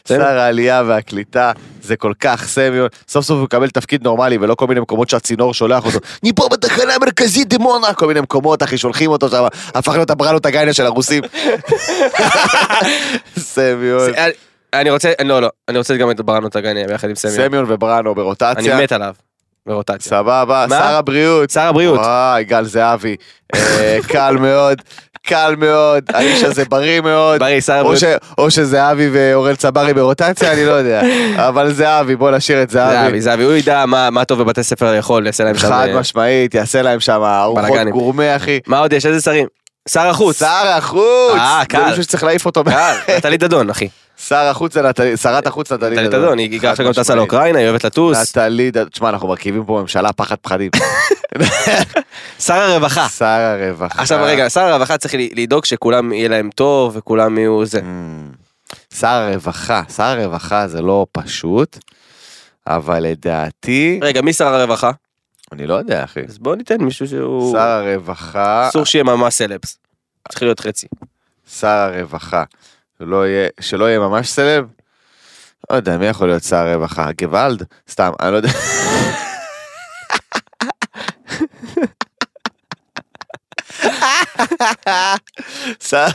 B: שר העלייה והקליטה, זה כל כך סמיון. סוף סוף הוא מקבל תפקיד נורמלי ולא כל מיני מקומות שהצינור שולח אותו. אני פה בתחנה המרכזית דימונה! כל מיני מקומות, אחי, שולחים אותו שם, הפך להיות הברלות הגיינה של הרוסים. סמיון.
C: זה- אה, אני רוצה, לא, לא, אני רוצה גם את ברנות הגניה ביחד עם סמיון.
B: סמיון וברנו
C: אני
B: ברוטציה.
C: מת עליו. ברוטציה.
B: סבבה,
C: מה?
B: שר הבריאות.
C: שר הבריאות.
B: וואי, גל זהבי. אה, קל מאוד, קל מאוד, האיש הזה בריא מאוד.
C: בריא, שר
B: או,
C: הבריאות.
B: ש, או שזהבי ואורל צברי ברוטציה, אני לא יודע. אבל זהבי, בוא נשאיר את זהבי.
C: זהבי, זהבי, הוא ידע מה- מה טוב בבתי ספר לאכול, יעשה להם שם...
B: חד
C: אה,
B: משמעית, יעשה להם שם ארוחות
C: בלאגנים.
B: גורמה, אחי.
C: מה עוד יש? איזה שרים? שר החוץ.
B: שר החוץ!
C: אה,
B: זה
C: קל.
B: מישהו שצריך להעיף אותו.
C: קל, נטלי דדון, אחי.
B: שר החוץ זה נטלי, שרת החוץ נטלי
C: נטלי דדון, היא גם עכשיו גם טסה
B: חד-משמעית.
C: לאוקראינה, היא אוהבת לטוס.
B: נטלי דדון, תשמע, אנחנו מרכיבים פה ממשלה פחד פחדים.
C: שר הרווחה.
B: שר הרווחה.
C: עכשיו רגע, שר הרווחה צריך ל- לדאוג שכולם יהיה להם טוב וכולם יהיו זה.
B: Mm. שר הרווחה, שר הרווחה זה לא פשוט, אבל לדעתי,
C: רגע, מי שר הרווחה?
B: אני לא יודע אחי,
C: אז בואו ניתן מישהו שהוא...
B: שר הרווחה,
C: אסור שיהיה ממש סלבס. צריך להיות חצי.
B: שר הרווחה, לא יהיה- שלא יהיה ממש סלב, לא יודע מי יכול להיות שר הרווחה, גוואלד? סתם, אני לא יודע, שר-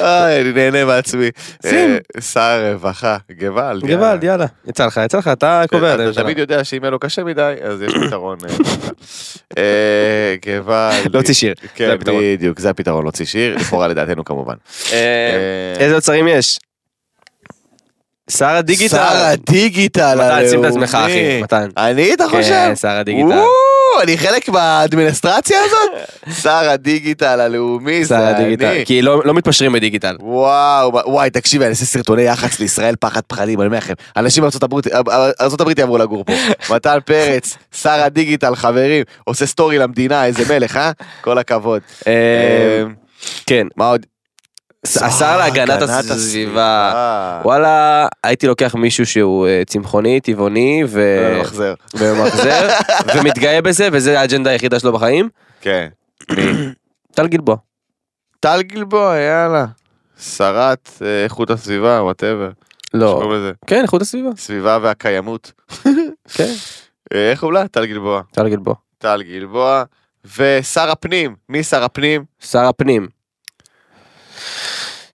B: אוי, אני נהנה מעצמי,
C: שים.
B: אה, שר הרווחה, גוואלד, יאללה.
C: גוואלד, יאללה. יצא לך, יצא לך, אתה קובע את
B: אתה
C: הממשלה.
B: תמיד יודע שאם יהיה לו קשה מדי, אז יש פתרון. אה, אה, גוואלד.
C: להוציא שיר. זה
B: כן,
C: הפתרון.
B: בדיוק, זה הפתרון, להוציא שיר, לכאורה לדעתנו כמובן.
C: אה,
B: אה,
C: איזה עוד שרים יש? שר הדיגיטל.
B: שר הדיגיטל
C: מתן, שים את
B: הלאומי.
C: עצמך, אחי, מתן.
B: אני, אתה חושב?
C: כן, שר הדיגיטל.
B: וואו, אני חלק מהאדמיניסטרציה הזאת? שר הדיגיטל הלאומי,
C: שר
B: זה
C: הדיגיטל.
B: אני.
C: כי לא לא מתפשרים בדיגיטל.
B: וואו, וואי, תקשיבי, אני עושה סרטוני יח"צ לישראל פחד פחדים, אני אומר לכם, אנשים מארצות הברית- ארצות הברית יעברו לגור פה. מתן פרץ, שר הדיגיטל, חברים, עושה סטורי למדינה, איזה מלך, אה? כל הכבוד. אמ,
C: אה, כן.
B: מה עוד?
C: השר להגנת הסביבה. אה, וואלה, הייתי לוקח מישהו שהוא אה, צמחוני, טבעוני ו...
B: אה, מחזר.
C: וממחזר, ומתגאה בזה, וזה האג'נדה היחידה שלו בחיים.
B: כן.
C: טל גלבוע.
B: טל גלבוע, יאללה. שרת אה, איכות הסביבה, וואטאבר.
C: לא. כן, איכות הסביבה.
B: סביבה והקיימות.
C: כן,
B: אה, איך קוראים לה? טל גלבוע.
C: טל גלבוע.
B: טל גלבוע. ושר הפנים, מי שר הפנים?
C: שר הפנים.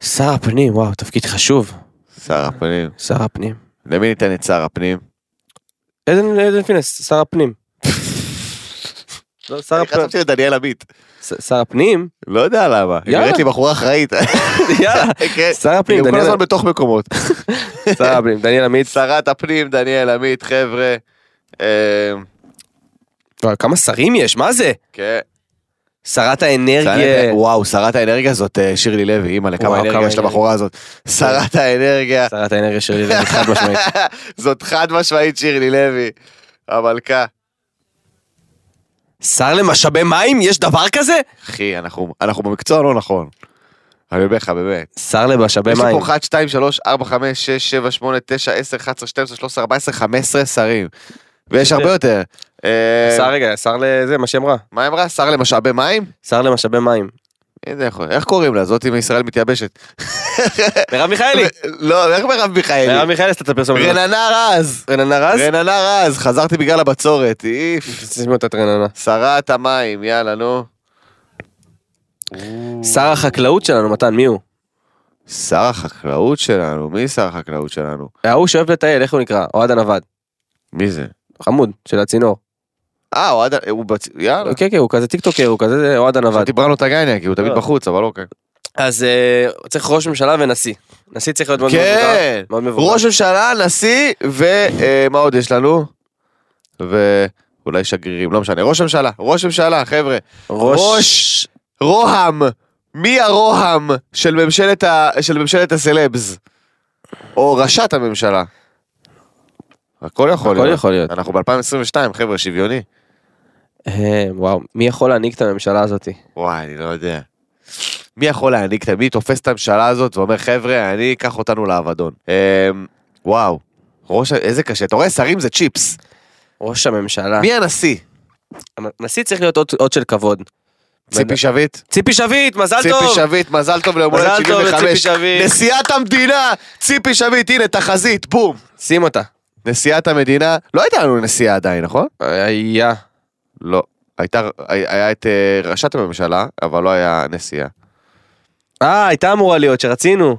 C: שר הפנים, וואו, תפקיד חשוב.
B: שר הפנים.
C: שר הפנים.
B: למי ניתן את שר הפנים?
C: עדן עדן פינס, שר הפנים. לא, שר
B: אני
C: הפנים.
B: לא,
C: אה,
B: חשבתי לדניאל עמית.
C: ס- שר הפנים,
B: לא יודע למה. היא
C: יאללה.
B: נראית לי בחורה אחראית.
C: יאללה,
B: כן.
C: שר הפנים,
B: היא גם כל
C: דניאל-
B: הזמן בתוך מקומות.
C: שר הפנים, דניאל עמית,
B: שרת הפנים, דניאל עמית, חבר'ה. אה,
C: וואי, כמה שרים יש, מה זה?
B: כן.
C: שרת
B: שרת
C: האנרגיה,
B: האנרגיה- וואו, שרת האנרגיה זאת אה, שירלי לוי, אימא'לה,
C: וואו,
B: כמה
C: כמה
B: אנרגיה יש לבחורה הזאת. שרת האנרגיה,
C: שרת האנרגיה שלי, חד משמעית.
B: זאת חד משמעית שירלי לוי, המלכה.
C: שר למשאבי מים? יש דבר כזה?
B: אחי, אנחנו אנחנו במקצוע לא נכון. אני אומר לך, באמת.
C: שר למשאבי
B: יש לי
C: מים.
B: פה 1, 2, 3, 4, 5, 6, 7, 8, 9, 10, 11, 12, 13, 14, 15 שרים. ויש הרבה יותר. אה,
C: שר רגע, שר לזה, מה שהיא אמרה.
B: מה היא אמרה? שר למשאבי מים?
C: שר למשאבי מים.
B: איזה יכול- איך קוראים לה? זאתי מישראל מתייבשת.
C: מרב מיכאלי.
B: לא, איך מרב
C: מרב
B: מיכאלי?
C: מיכאלי עשתה את הפרסומת. הזאת.
B: רננה רז.
C: אה, רננה רז?
B: רננה רז, חזרתי בגלל הבצורת, איף.
C: תשמעו את רננה.
B: שרת המים, יאללה, נו.
C: שר החקלאות שלנו, מתן, מי הוא?
B: שר החקלאות שלנו, מי שר החקלאות שלנו?
C: ההוא שאוהב לטייל, איך הוא נקרא? אוהד הנווד.
B: מי זה?
C: חמוד, של הצינור.
B: אה, אוהד, הוא בצ... יאללה.
C: כן, כן, הוא כזה טיקטוקר, הוא כזה זה, אוהד הנווד.
B: חשבתי בראנו טגניה, כי הוא תמיד
C: לא.
B: בחוץ, אבל אוקיי.
C: אז אה, צריך ראש ממשלה ונשיא. נשיא צריך להיות מאוד מבוגר.
B: כן!
C: מאוד מבוגר.
B: ראש ממשלה, נשיא, ומה אה, עוד יש לנו? ואולי שגרירים, לא משנה. ראש ממשלה, ראש ממשלה, חבר'ה. ראש- רוהם! מי הרוהם של ממשלת ה... של ממשלת הסלבס? או ראשת הממשלה. הכל יכול
C: הכל
B: להיות.
C: יכול להיות.
B: אנחנו ב-2022, חבר'ה, שוויוני.
C: אה, וואו, מי יכול להנהיג את הממשלה הזאתי?
B: וואי, אני לא יודע. מי יכול להעניק את מי תופס את הממשלה הזאת ואומר, חבר'ה, אני אקח אותנו לאבדון. אמ, וואו, ראש, ה- איזה קשה. אתה רואה, שרים זה צ'יפס.
C: ראש הממשלה.
B: מי הנשיא?
C: הנשיא צריך להיות אות- אות של כבוד.
B: ציפי שביט?
C: ציפי שביט, מזל
B: ציפי
C: טוב!
B: שביט, מזל טוב ליום הולדת
C: מזל טוב לציפי
B: 75.
C: שביט.
B: נשיאת המדינה, ציפי שביט, הנה, תחזית, בום.
C: שים אותה.
B: נשיאת המדינה, לא הייתה לנו נשיאה עדיין, נכון?
C: היה.
B: לא. הייתה, היה את אה, ראשת הממשלה, אבל לא היה נשיאה.
C: אה, הייתה אמורה להיות שרצינו.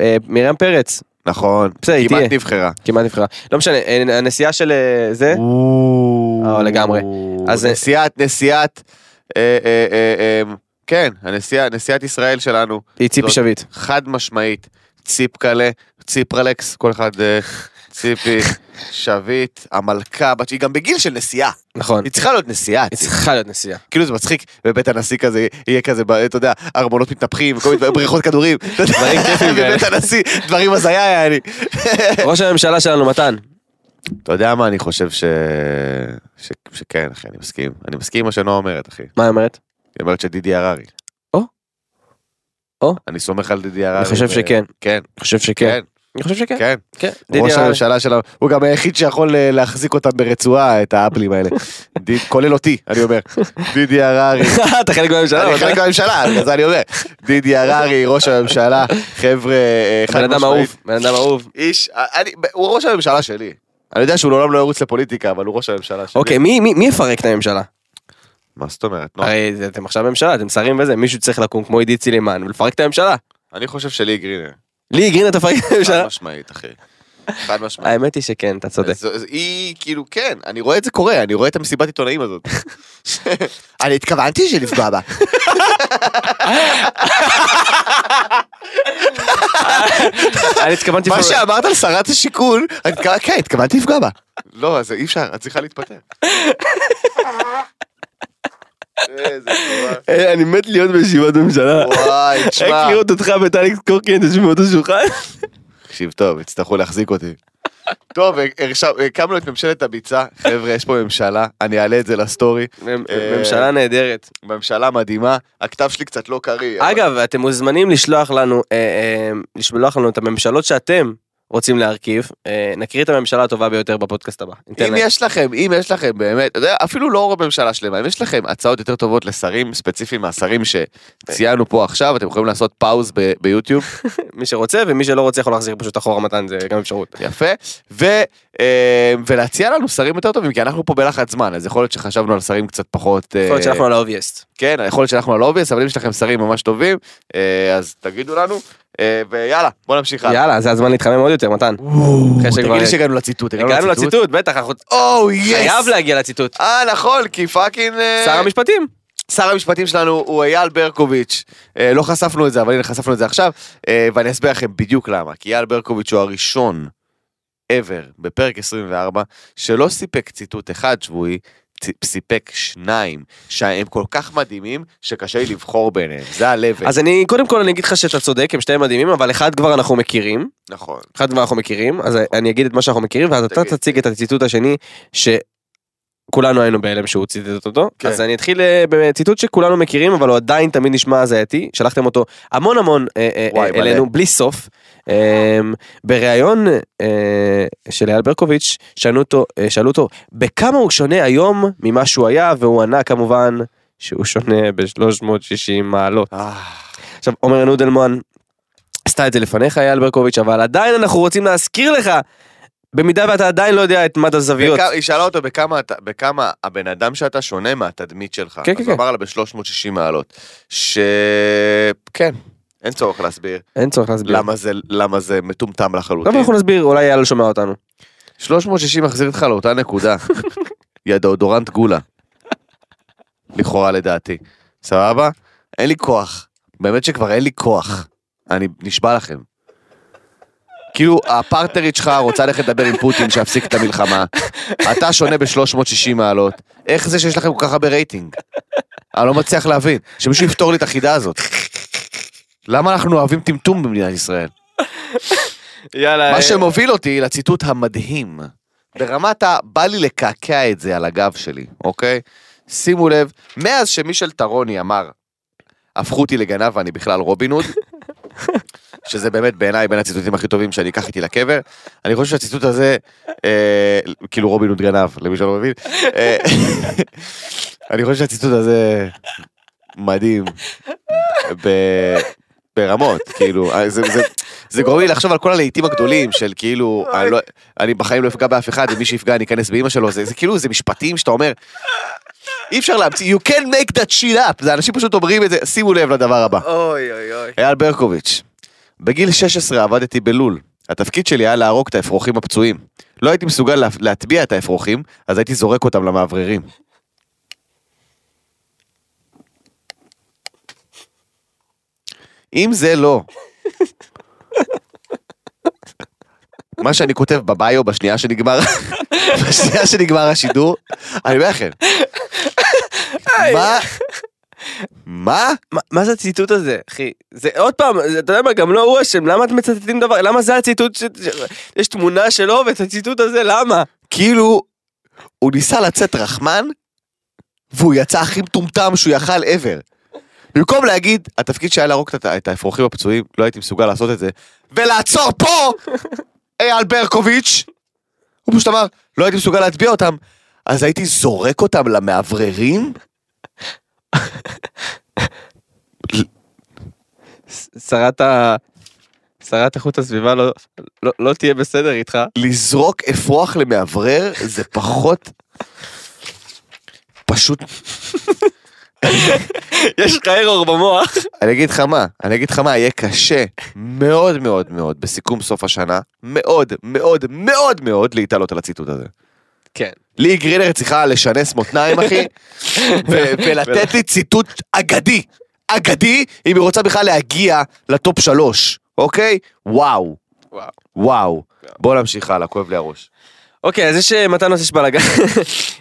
C: אה, מרים פרץ,
B: נכון.
C: בסדר, היא
B: כמעט
C: תהיה.
B: נבחרה.
C: כמעט נבחרה. לא משנה, אה, הנסיעה של אה, זה,
B: או,
C: אה, לגמרי. אז- אה,
B: אז נשיאת, נשיאת, אה, אה, אה, אה, כן, הנשיאה, נשיאת ישראל שלנו,
C: היא ציפי
B: זאת.
C: שביט.
B: חד משמעית, ציפקלה, ציפרלקס, כל אחד, אה, ציפי, שביט, המלכה, בת- היא גם בגיל של נשיאה,
C: נכון.
B: היא צריכה להיות נשיאה.
C: היא צריכה להיות נסיעה.
B: כאילו זה מצחיק, בבית הנשיא כזה, יהיה כזה, ב- אתה יודע, ארמונות מתנפחים, כל מיני דבר- בריכות כדורים, אתה יודע,
C: דברים כיפים כאלה.
B: בבית הנשיא, דברים הזיה היה לי.
C: ראש הממשלה שלנו, מתן.
B: אתה יודע מה, אני חושב ש... ש... שכן, אחי, אני מסכים. אני מסכים עם מה שנועה אומרת, אחי.
C: מה היא אומרת?
B: היא אומרת שדידי הררי.
C: או. או.
B: אני סומך על דידי הררי.
C: אני חושב
B: ו-
C: שכן.
B: כן,
C: אני חושב שכן.
B: אה, כן,
C: אני חושב שכן.
B: כן.
C: כן. דידי
B: ראש
C: הררי.
B: הממשלה שלנו, הוא גם היחיד שיכול אה, להחזיק אותם ברצועה, את האפלים האלה. די- כולל אותי, אני אומר. דידי הררי.
C: אתה חלק מהממשלה,
B: אני
C: מתן.
B: חלק מהממשלה, בגלל זה אני אומר. דידי הררי, ראש הממשלה, חבר'ה, אה, חד
C: בן אדם
B: משמעית.
C: אהוב. בן אדם אהוב.
B: איש, אה, אני, הוא ראש הממשלה שלי. אני יודע שהוא לעולם לא ירוץ לפוליטיקה, אבל הוא ראש הממשלה שלי.
C: אוקיי, מי- מי מי יפרק את הממשלה?
B: מה זאת אומרת? נו,
C: הרי זה- אתם עכשיו ממשלה, אתם שרים וזה, מישהו צריך לקום כמו עידית סילמן ולפרק את הממשלה.
B: אני חושב שלי גרינר.
C: לי גרינה תפרק את
B: חד
C: הממשלה.
B: משמעית, אחי. חד משמעית.
C: האמת היא שכן, אתה צודק.
B: אז- אז היא כאילו כן, אני רואה את זה קורה, אני רואה את המסיבת עיתונאים הזאת. אני התכוונתי שלפגוע בה.
C: אני התכוונתי...
B: מה
C: פה-
B: שאמרת על שרת השיכון, אני התכוונ- כן, התכוונתי לפגוע בה. לא, אז אי אפשר, את צריכה להתפטר. איזה תגובה.
C: אה, אני מת להיות בישיבת ממשלה.
B: וואי,
C: רק
B: תשמע.
C: לראות אותך ואת אלכס קורקינט יושבים באותו שולחן.
B: תקשיב טוב, יצטרכו להחזיק אותי. טוב, אה, עכשיו, הקמנו את ממשלת הביצה, חבר'ה, יש פה ממשלה, אני אעלה את זה לסטורי. אה,
C: ממשלה נהדרת.
B: ממשלה מדהימה, הכתב שלי קצת לא קריא. אבל-
C: אגב, אתם מוזמנים לשלוח לנו, אה, אה, לשלוח לנו את הממשלות שאתם רוצים להרכיב. אה, נקריא את הממשלה הטובה ביותר בפודקאסט הבא. ניתן
B: אם
C: להם.
B: יש לכם, אם יש לכם באמת, אתה יודע, אפילו לא ממשלה שלמה, אם יש לכם הצעות יותר טובות לשרים ספציפיים מהשרים שציינו פה עכשיו, אתם יכולים לעשות פאוז ב- ביוטיוב,
C: מי שרוצה ומי שלא רוצה יכול להחזיר פשוט אחורה מתן, זה גם אפשרות.
B: יפה, ו- אה, ולהציע לנו שרים יותר טובים, כי אנחנו פה בלחץ זמן, אז יכול להיות שחשבנו על שרים קצת פחות... אה,
C: יכול להיות שאנחנו על האובייסט.
B: כן, יכול להיות שאנחנו על אובייס, אבל אם יש לכם שרים ממש טובים, אה, אז תגידו לנו, אה, ויאללה, בוא נמשיך הלאה.
C: יאללה, זה הזמן להתחמם עוד יותר, מתן. אחרי שכבר-
B: תגיד לי שהגענו לציטוט, Oh,
C: הגענו לציטוט, בטח, אנחנו
B: או, יס!
C: חייב להגיע לציטוט.
B: אה, נכון, כי פאקינג... אה,
C: שר המשפטים.
B: שר המשפטים שלנו הוא אייל ברקוביץ', אה, לא חשפנו את זה, אבל הנה חשפנו את זה עכשיו, אה, ואני אסביר לכם בדיוק למה, כי אייל ברקוביץ' הוא הראשון ever בפרק 24, שלא סיפק ציטוט אחד שבועי, צ- סיפק שניים, שהם כל כך מדהימים, שקשה לי לבחור ביניהם, זה ה-level.
C: אז אני, קודם כל אני אגיד לך שאתה צודק, הם שניהם מדהימים, אבל אחד כבר אנחנו מכירים,
B: נכון.
C: אחד כבר אנחנו מכירים, אז אני אגיד את מה שאנחנו מכירים, ואז אתה
B: תגיד.
C: תציג את הציטוט השני, שכולנו היינו בהלם שהוא ציטט אותו.
B: כן.
C: אז אני אתחיל אה, בציטוט שכולנו מכירים, אבל הוא עדיין תמיד נשמע הזייתי, שלחתם אותו המון המון אה, אה,
B: וואי, מלא.
C: אלינו, בלי סוף. אה, בריאיון אה, של אייל ברקוביץ', שאלו אותו, אה, שאלו אותו, בכמה הוא שונה היום ממה שהוא היה, והוא ענה כמובן שהוא שונה ב-360 מעלות.
B: אה,
C: עכשיו, עומר נודלמן עשתה את זה לפניך, אייל ברקוביץ', אבל עדיין אנחנו רוצים להזכיר לך, במידה ואתה עדיין לא יודע את מד הזוויות.
B: בכמה- היא שאלה אותו בכמה, אתה- בכמה הבן אדם שאתה שונה מהתדמית שלך.
C: כן, כן,
B: אז הוא
C: כן.
B: אמר לה ב-360 מעלות. ש... כן, אין צורך להסביר
C: אין צורך להסביר.
B: למה זה, למה זה מטומטם
C: למה
B: לחלוטין.
C: אנחנו נסביר? אולי אייל לא שומע אותנו.
B: 360 מחזיר אותך לאותה נקודה. יא דאודורנט גולה. לכאורה לדעתי. סבבה? אין לי כוח. באמת שכבר אין לי כוח. אני נשבע לכם. כאילו הפרטנרית שלך רוצה ללכת לדבר עם פוטין שיפסיק את המלחמה. אתה שונה ב-360 מעלות. איך זה שיש לכם כל כך הרבה רייטינג? אני לא מצליח להבין. שמישהו יפתור לי את החידה הזאת. למה אנחנו אוהבים טמטום במדינת ישראל?
C: יאללה. אה,
B: מה שמוביל אותי לציטוט המדהים, ברמת ה... בא לי לקעקע את זה על הגב שלי, אוקיי? שימו לב, מאז שמישל טרוני אמר, הפכו אותי לגנב ואני בכלל רובין הוד, שזה באמת בעיניי בין הציטוטים הכי טובים שאני אקח איתי לקבר, אני חושב שהציטוט הזה, אה, כאילו רובין הוד גנב, למי שלא מבין, אה, אני חושב שהציטוט הזה מדהים. ב- ברמות, כאילו, אה, זה, זה, זה גורם לי לחשוב על כל הלהיטים הגדולים של כאילו, אני, לא, אני בחיים לא אפגע באף אחד, ומי שיפגע אני אכנס באימא שלו, זה, זה כאילו, זה משפטים שאתה אומר, אי אפשר להמציא, you can make that shit up, זה אנשים פשוט אומרים את זה, שימו לב לדבר הבא.
C: אוי אוי אוי.
B: אייל ברקוביץ', בגיל 16 עבדתי בלול. התפקיד שלי היה להרוג את האפרוחים הפצועים. לא הייתי מסוגל לה- להטביע את האפרוחים, אז הייתי זורק אותם למאווררים. אם זה לא... מה שאני כותב בביו בשנייה שנגמר, בשנייה שנגמר השידור, אני אומר לכם, מה, מה
C: מה זה הציטוט הזה, אחי? זה עוד פעם, זה- אתה יודע מה, גם לא הוא אשם, למה אתם מצטטים דבר? למה זה הציטוט ש... ש- יש תמונה שלו ואת הציטוט הזה, למה?
B: כאילו, הוא ניסה לצאת רחמן, והוא יצא הכי מטומטם שהוא יכל ever. במקום להגיד, התפקיד שהיה להרוג את ה- את האפרוחים הפצועים, לא הייתי מסוגל לעשות את זה, ולעצור פה, אייל ברקוביץ', הוא פשוט אמר, לא הייתי מסוגל להטביע אותם, אז הייתי זורק אותם למאווררים?
C: ש- שרת ה... שרת איכות הסביבה לא, לא, לא תהיה בסדר איתך.
B: לזרוק אפרוח למאוורר זה פחות... פשוט
C: יש לך ארור במוח.
B: אני אגיד לך מה, אני אגיד לך מה, יהיה קשה מאוד מאוד מאוד בסיכום סוף השנה, מאוד מאוד מאוד מאוד להתעלות על הציטוט הזה.
C: כן.
B: לי גרינר צריכה לשנס מותניים, אחי, ו- ולתת לי ציטוט אגדי, אגדי, אם היא רוצה בכלל להגיע לטופ שלוש, אוקיי? וואו,
C: וואו.
B: וואו. בוא נמשיך הלאה, כואב לי הראש.
C: אוקיי, אז יש אה, מתן עושה יש בלאגן,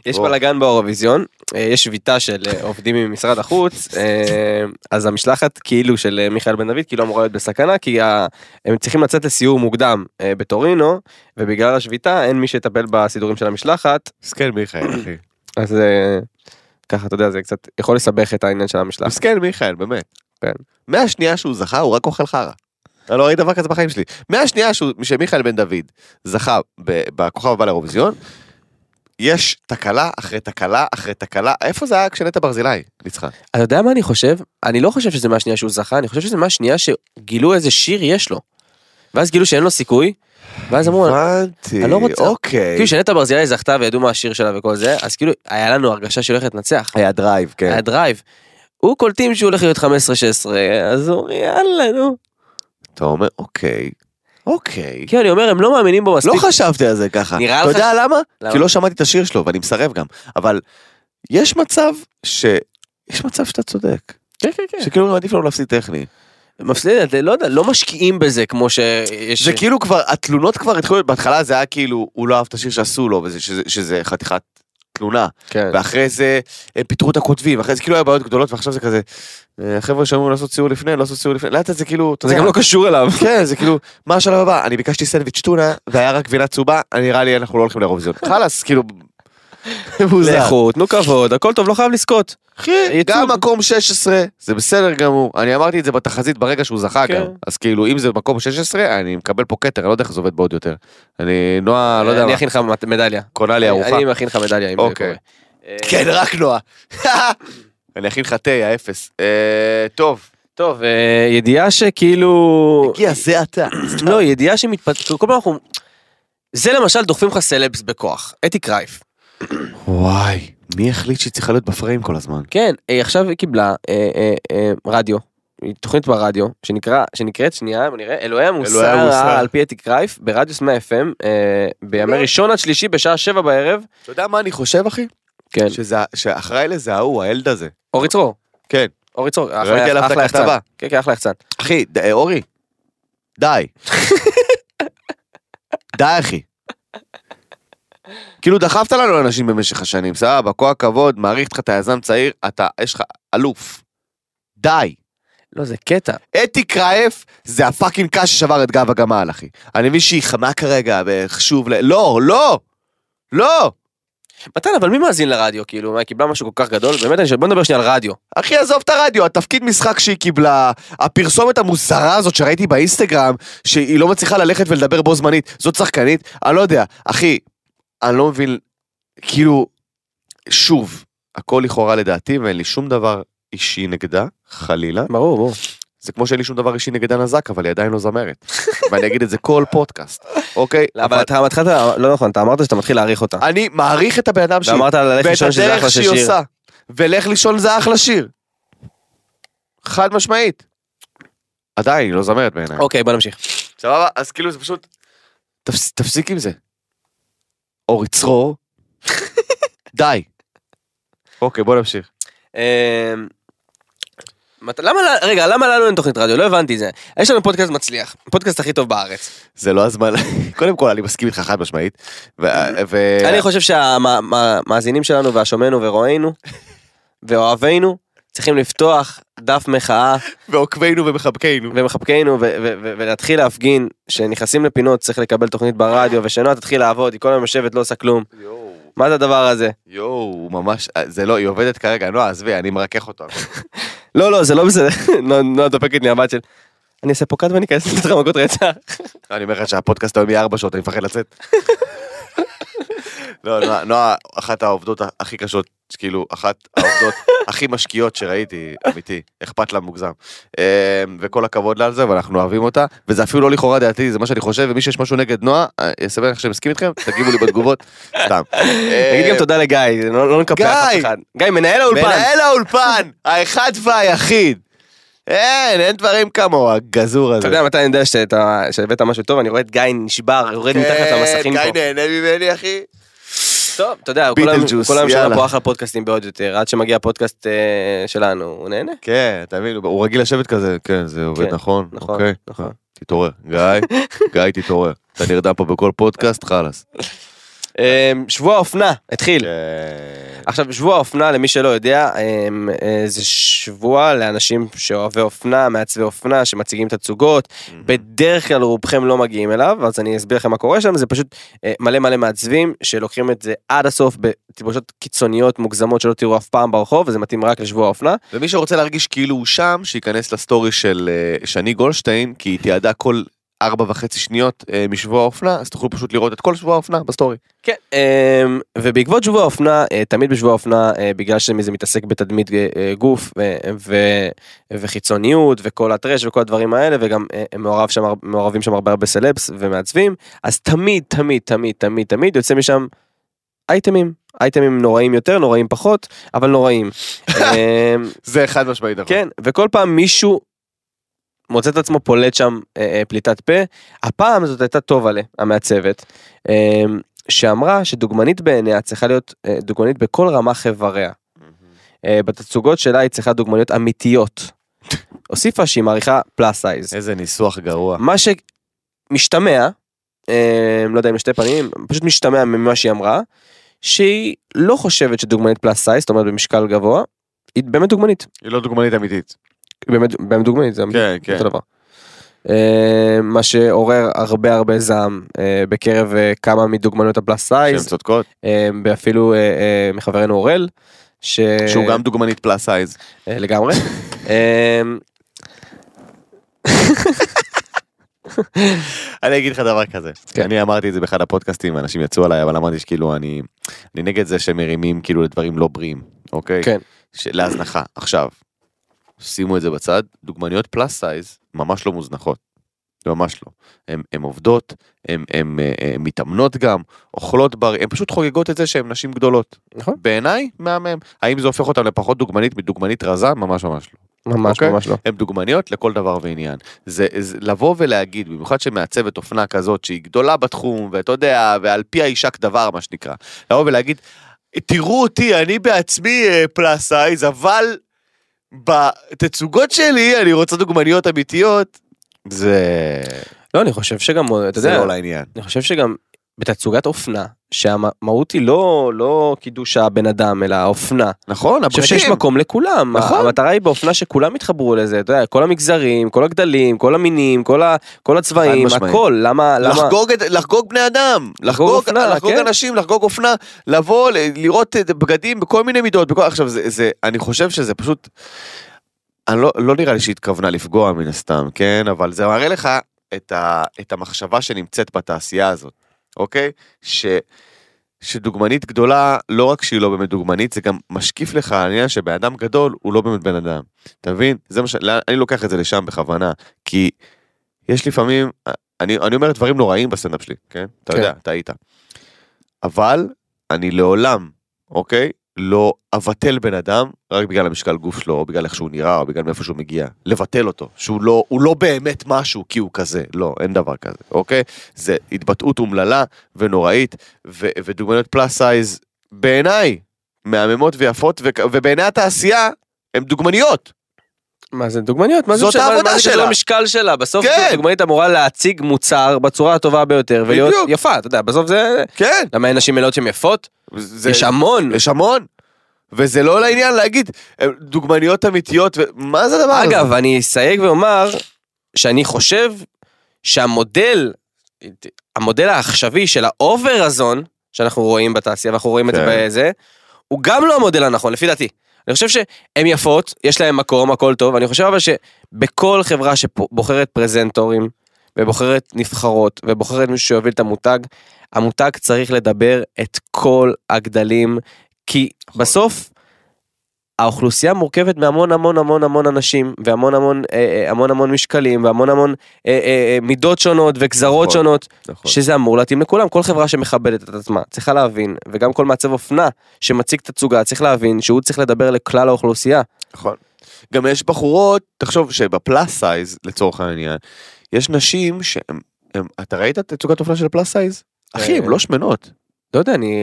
C: יש
B: או.
C: בלאגן באירוויזיון, אה, יש שביתה של אה, עובדים ממשרד החוץ, אה, אז המשלחת כאילו של אה, מיכאל בן דוד כאילו אמורה להיות בסכנה, כי ה- הם צריכים לצאת לסיור מוקדם אה, בטורינו, ובגלל השביתה אין מי שיטפל בסידורים של המשלחת,
B: מסכן מיכאל, אחי.
C: אז אה, ככה אתה יודע זה קצת יכול לסבך את העניין של המשלחת.
B: מסכן מיכאל, באמת.
C: כן.
B: מהשנייה שהוא זכה, הוא רק אוכל חרא. אני לא ראיתי דבר כזה בחיים שלי. מהשנייה שהוא- שמיכאל בן דוד זכה ב- בכוכב הבא לאירוויזיון, יש תקלה אחרי תקלה אחרי תקלה. איפה זה היה כשנטע ברזילי ניצחה?
C: אתה יודע מה אני חושב? אני לא חושב שזה מהשנייה שהוא זכה, אני חושב שזה מהשנייה שגילו איזה שיר יש לו. ואז גילו שאין לו סיכוי, ואז אמרו,
B: הבנתי,
C: אני לא רוצה-
B: אוקיי.
C: כאילו שנטע ברזילי זכתה וידעו מה השיר שלה וכל זה, אז כאילו היה לנו הרגשה שהיא הולכת לנצח.
B: היה דרייב, כן.
C: היה דרייב. הוא קולטים שהוא הולך להיות 15-16, אז הוא אומר יאללה נו.
B: אתה אומר, אוקיי. אוקיי.
C: כאילו אני אומר הם לא מאמינים בו
B: לא
C: מספיק.
B: חשבתי על זה ככה.
C: נראה
B: אתה
C: לך
B: יודע למה?
C: למה?
B: כי לא שמעתי את השיר שלו, ואני מסרב גם. אבל יש מצב ש... יש מצב שאתה צודק.
C: כן, כן, כן.
B: שכאילו עדיף לנו להפסיד טכני.
C: מפסיד, אתה לא יודע, לא משקיעים בזה כמו שיש...
B: זה כאילו כבר, התלונות כבר התחילו, בהתחלה זה היה כאילו, הוא לא אהב את השיר שעשו לו, וזה- שזה- שזה חתיכת תלונה.
C: כן.
B: ואחרי זה הם פיטרו את הכותבים, אחרי זה כאילו היה בעיות גדולות, ועכשיו זה כזה, אה, החבר'ה שאמרו לעשות סיור לפני, לא לעשות סיור לפני, לאט לאט זה כאילו, אתה
C: זה
B: יודע,
C: גם לא קשור אליו.
B: כן, זה כאילו, מה השלב הבא? אני ביקשתי סנדוויץ' טונה, והיה רק גבינה צהובה, אני- נראה לי אנחנו לא הולכים לאירוויזיון. חלאס, כאילו... מוזר.
C: לכו, תנו כבוד, הכל טוב, לא חייב לזכות.
B: אחי, כן, גם
C: ייצוג.
B: מקום 16, זה בסדר גמור. אני אמרתי את זה בתחזית ברגע שהוא זכה
C: כן.
B: גם. אז כאילו, אם זה מקום 16, אני מקבל פה כתר, אני לא יודע איך זה עובד בעוד יותר. אני, נועה, לא יודע
C: אני
B: מה,
C: אכין לך מד- מדליה.
B: קונה לי ארוחה.
C: אני מכין לך מדליה אם זה
B: אוקיי.
C: קורה. אה,
B: כן, רק נועה. אני אכין לך תה, האפס. אה, טוב.
C: טוב, אה, ידיעה שכאילו...
B: הגיע זה אתה.
C: לא, ידיעה שמתפתחת, כל פעם אנחנו... זה למשל דוחפים לך סלבס בכוח, אתי קרייף.
B: וואי, מי החליט שהיא צריכה להיות בפריים כל הזמן?
C: כן, היא עכשיו היא קיבלה אה, אה, אה, רדיו, היא תוכנית ברדיו, שנקרא, שנקראת, שנייה, בוא נראה, אלוהי המוסר
B: אלוהי המוסר.
C: על פי אתי קרייף, ברדיוס 100 FM, אה, בימי ראשון עד שלישי בשעה שבע בערב.
B: אתה יודע מה אני חושב, אחי?
C: כן.
B: שזה- שאחראי לזה ההוא, הילד הזה.
C: אורי צרור,
B: כן.
C: אורי צרור, אחלה-
B: ראיתי עליו את
C: אחלה יחצן.
B: הכתבה.
C: כן, כן, אחלה יחצן.
B: אחי, ד- אה, אורי, די. די, אחי. כאילו דחפת לנו אנשים במשך השנים, סבבה, כל הכבוד, מעריך אותך, אתה יזם צעיר, אתה, יש לך אלוף. די.
C: לא, זה קטע.
B: אתי קרייף זה הפאקינג קש ששבר את גב הגמל, אחי. אני מבין שהיא חמה כרגע, וחשוב ל... לא, לא! לא!
C: מתן, אבל מי מאזין לרדיו, כאילו, מה, היא קיבלה משהו כל כך גדול? באמת, אני שואל, בוא נדבר שנייה על רדיו.
B: אחי, עזוב את הרדיו, התפקיד משחק שהיא קיבלה, הפרסומת המוזרה הזאת שראיתי באינסטגרם, שהיא לא מצליחה ללכת ולדבר בו זמנית, זאת שחקנית? אני לא יודע. אחי, אני לא מבין, כאילו, שוב, הכל לכאורה לדעתי, ואין לי שום דבר אישי נגדה, חלילה.
C: ברור, ברור.
B: זה כמו שאין לי שום דבר אישי נגדה נזק, אבל היא עדיין לא זמרת. ואני אגיד את זה כל פודקאסט, אוקיי?
C: אבל אתה מתחיל, לא נכון, אתה אמרת שאתה מתחיל להעריך אותה.
B: אני מעריך את הבן אדם שהיא,
C: ואמרת על הלך
B: ואת
C: לישון שזה אחלה
B: הדרך
C: של
B: שהיא
C: שיר.
B: עושה. ולך לישון זה אחלה שיר. חד משמעית. עדיין, היא לא זמרת בעיניי.
C: אוקיי, בוא נמשיך.
B: סבבה? אז כאילו זה פשוט... תפס- תפסיק עם זה. אורי צרור. די. אוקיי, בוא נמשיך.
C: אמ, מת- למה, לה- רגע, למה לנו אין תוכנית רדיו? לא הבנתי את זה. יש לנו פודקאסט מצליח, הפודקאסט הכי טוב בארץ.
B: זה לא הזמן. קודם כל, אני מסכים איתך חד משמעית. ו... ו-
C: אני חושב שהמאזינים שלנו והשומענו ורואינו ואוהבינו צריכים לפתוח דף מחאה
B: ועוקבינו ומחבקינו.
C: ומחבקינו ו- ו- ו- ולהתחיל להפגין שנכנסים לפינות צריך לקבל תוכנית ברדיו ושנועה תתחיל לעבוד, היא כל היום יושבת לא עושה כלום.
B: יואו,
C: מה זה הדבר הזה?
B: יואו, ממש, זה לא, היא עובדת כרגע, נועה, עזבי, אני מרכך אותו.
C: לא, לא, זה לא בסדר. נועה- נועה דופקת לי הבת של... אני אעשה פה קאט ואני אכנס לתת לך מכות
B: אה.
C: רצח.
B: אני אומר לך שהפודקאסט היום יהיה ארבע שעות, אני מפחד לצאת. לא, נועה- נועה, אחת העובדות הכי קשות, כאילו, אחת העובדות הכי משקיעות שראיתי, אמיתי, אכפת לה מוגזם. אה, וכל הכבוד לה על זה, ואנחנו אוהבים אותה, וזה אפילו לא לכאורה דעתי, זה מה שאני חושב, ומי שיש משהו נגד נועה, אה, יסבר לך שאני מסכים איתכם, תגיבו לי בתגובות, סתם.
C: נגיד גם תודה לגיא, לא לא נקפח אף
B: גיא!
C: אחד. גיא, מנהל האולפן.
B: מנהל האולפן, האחד והיחיד. אין, אין דברים כמוהו, הגזור
C: אתה
B: הזה.
C: יודע מתי אני יודע שאתה- שהבאת משהו טוב, אני רואה את גיא נשבר, יורד מתחת
B: כן,
C: למסכים פה.
B: גיא נהנה ממני, אחי.
C: טוב, אתה יודע, כל היום-
B: ביטלג'וס,
C: כל היום שלנו
B: יאללה.
C: פה אחלה פודקאסטים בעוד יותר, עד שמגיע הפודקאסט אה, שלנו, הוא נהנה.
B: כן, תאמין, הוא- הוא רגיל לשבת כזה, כן, זה עובד
C: כן,
B: נכון,
C: נכון,
B: אוקיי,
C: נכון.
B: תתעורר, גיא, גיא תתעורר, אתה נרדם פה בכל פודקאסט, חלאס.
C: אה, שבוע האופנה, התחיל.
B: כן.
C: עכשיו, שבוע האופנה, למי שלא יודע, אה, אה, זה שבוע לאנשים שאוהבי אופנה, מעצבי אופנה, שמציגים תצוגות. בדרך כלל רובכם לא מגיעים אליו, אז אני אסביר לכם מה קורה שם, זה פשוט אה, מלא מלא מעצבים שלוקחים את זה עד הסוף בתלבושות קיצוניות מוגזמות שלא תראו אף פעם ברחוב, וזה מתאים רק לשבוע האופנה.
B: ומי שרוצה להרגיש כאילו הוא שם, שייכנס לסטורי של אה, שני גולדשטיין, כי היא תיעדה כל ארבע וחצי שניות אה, משבוע האופנה, אז תוכלו פשוט לראות את כל שבוע האופנה בסטורי.
C: כן, אמ, ובעקבות שבוע האופנה, אה, תמיד בשבוע האופנה, אה, בגלל שזה מתעסק בתדמית אה, אה, גוף ו- ו- וחיצוניות וכל הטרש וכל הדברים האלה, וגם אה, מעורב שם, הר- מעורבים שם הרבה הרבה סלבס ומעצבים, אז תמיד, תמיד, תמיד, תמיד, תמיד יוצא משם אייטמים, אייטמים נוראים יותר, נוראים פחות, אבל נוראים. אמ,
B: זה חד משמעית נכון.
C: כן, וכל פעם מישהו מוצא את עצמו פולט שם אה, אה, פליטת פה. הפעם זאת הייתה טובלה, המעצבת, אה, שאמרה שדוגמנית בעיניה צריכה להיות אה, דוגמנית בכל רמ"ח איבריה. אה, בתצוגות שלה היא צריכה דוגמניות אמיתיות. הוסיפה שהיא מעריכה פלאס סייז.
B: איזה ניסוח גרוע.
C: מה שמשתמע, אה, לא יודע אם לשתי פנים, פשוט משתמע ממה שהיא אמרה, שהיא לא חושבת שדוגמנית פלאס סייז, זאת אומרת במשקל גבוה, היא באמת דוגמנית.
B: היא לא דוגמנית אמיתית.
C: היא באמת, באמת דוגמנית, זה
B: כן, כן.
C: אותו דבר. אה, מה שעורר הרבה הרבה זעם אה, בקרב אה, כמה מדוגמניות הפלאס
B: שהן
C: סייז,
B: צודקות.
C: אה, ואפילו אה, אה, מחברנו אורל, ש...
B: שהוא גם דוגמנית פלאס סייז.
C: אה, לגמרי. אה,
B: אני אגיד לך דבר כזה.
C: כן.
B: אני אמרתי את זה באחד הפודקאסטים, אנשים יצאו עליי, אבל אמרתי שכאילו אני... אני נגד זה שמרימים כאילו לדברים לא בריאים, אוקיי?
C: כן.
B: ש- להזנחה. עכשיו, שימו את זה בצד, דוגמניות פלאס סייז ממש לא מוזנחות. ממש לא. הן עובדות, הן אה, מתאמנות גם, אוכלות בריא, הן פשוט חוגגות את זה שהן נשים גדולות.
C: נכון.
B: בעיניי, מהמם. האם זה הופך אותן לפחות דוגמנית מדוגמנית רזה? ממש ממש לא.
C: ממש
B: אוקיי.
C: ממש לא.
B: הן דוגמניות לכל דבר ועניין. זה, זה לבוא ולהגיד, במיוחד שמעצבת אופנה כזאת שהיא גדולה בתחום, ואתה יודע, ועל פי האישה כדבר, מה שנקרא, לבוא ולהגיד, תראו אותי, אני בעצמי פלאס סייז, אבל בתצוגות שלי אני רוצה דוגמניות אמיתיות. זה,
C: לא, אני חושב שגם, אתה
B: זה
C: יודע,
B: לא לעניין.
C: אני חושב שגם בתצוגת אופנה, שהמהות היא לא, לא קידוש הבן אדם, אלא האופנה. אני
B: נכון,
C: חושב שיש מקום לכולם.
B: נכון.
C: המטרה היא באופנה שכולם יתחברו לזה, אתה יודע, כל המגזרים, כל הגדלים, כל המינים, כל, ה, כל הצבעים,
B: חד משמעית.
C: הכל, למה, למה...
B: לחגוג, את, לחגוג בני אדם, לחגוג,
C: אופנה,
B: לחגוג
C: כן.
B: אנשים, לחגוג אופנה, לבוא, ל- לראות את בגדים בכל מיני מידות, בכל... עכשיו זה, זה, אני חושב שזה פשוט, אני לא, לא נראה לי שהיא התכוונה לפגוע מן הסתם, כן, אבל זה מראה לך את, ה, את המחשבה שנמצאת בתעשייה הזאת, אוקיי? ש, שדוגמנית גדולה, לא רק שהיא לא באמת דוגמנית, זה גם משקיף לך על העניין שבן אדם גדול הוא לא באמת בן אדם, אתה מבין? זה מה ש... לא- אני לוקח את זה לשם בכוונה, כי יש לפעמים, אני, אני אומר דברים נוראים בסטנדאפ שלי, כן? אתה
C: כן.
B: יודע, אתה היית. אבל אני לעולם, אוקיי? לא אבטל בן אדם רק בגלל המשקל גוף שלו, או בגלל איך שהוא נראה, או בגלל מאיפה שהוא מגיע. לבטל אותו, שהוא לא, הוא לא באמת משהו כי הוא כזה, לא, אין דבר כזה, אוקיי? זה התבטאות אומללה ונוראית, ו- ודוגמניות פלאס סייז, בעיניי, מהממות ויפות, ו- ובעיני התעשייה, הן דוגמניות.
C: מה זה דוגמניות? מה זה
B: זאת
C: משנה? מה-
B: העבודה
C: מה זה קשור
B: שלה.
C: למשקל שלה? בסוף
B: כן.
C: דוגמנית אמורה להציג מוצר בצורה הטובה ביותר, ולהיות
B: בדיוק.
C: יפה, אתה יודע, בסוף זה...
B: כן.
C: למה אין נשים מלאות שהן יפות?
B: זה-
C: יש המון.
B: יש המון. וזה לא לעניין להגיד, אה, דוגמניות אמיתיות, ו- מה זה הדבר הזה?
C: אגב, אני אסייג ואומר שאני חושב שהמודל, המודל העכשווי של האובר הזון, שאנחנו רואים בתעשייה, ואנחנו רואים את
B: כן.
C: זה בזה, הוא גם לא המודל הנכון, לפי דעתי. אני חושב שהן יפות, יש להן מקום, הכל טוב, אני חושב אבל שבכל חברה שבוחרת פרזנטורים, ובוחרת נבחרות, ובוחרת מישהו שיוביל את המותג, המותג צריך לדבר את כל הגדלים, כי
B: נכון.
C: בסוף האוכלוסייה מורכבת מהמון המון המון המון אנשים, והמון המון אה, אה, המון המון משקלים, והמון המון אה, אה, אה, מידות שונות וגזרות
B: נכון.
C: שונות,
B: נכון.
C: שזה אמור להתאים לכולם. כל חברה שמכבדת את עצמה צריכה להבין, וגם כל מעצב אופנה שמציג תצוגה צריך להבין שהוא צריך לדבר לכלל האוכלוסייה.
B: נכון. גם יש בחורות, תחשוב שבפלאס סייז, לצורך העניין, יש נשים שהן, הן- אתה ראית את תצוגת אופנה של פלאס סייז? אחי, הן
C: אה.
B: לא שמנות.
C: לא יודע, אני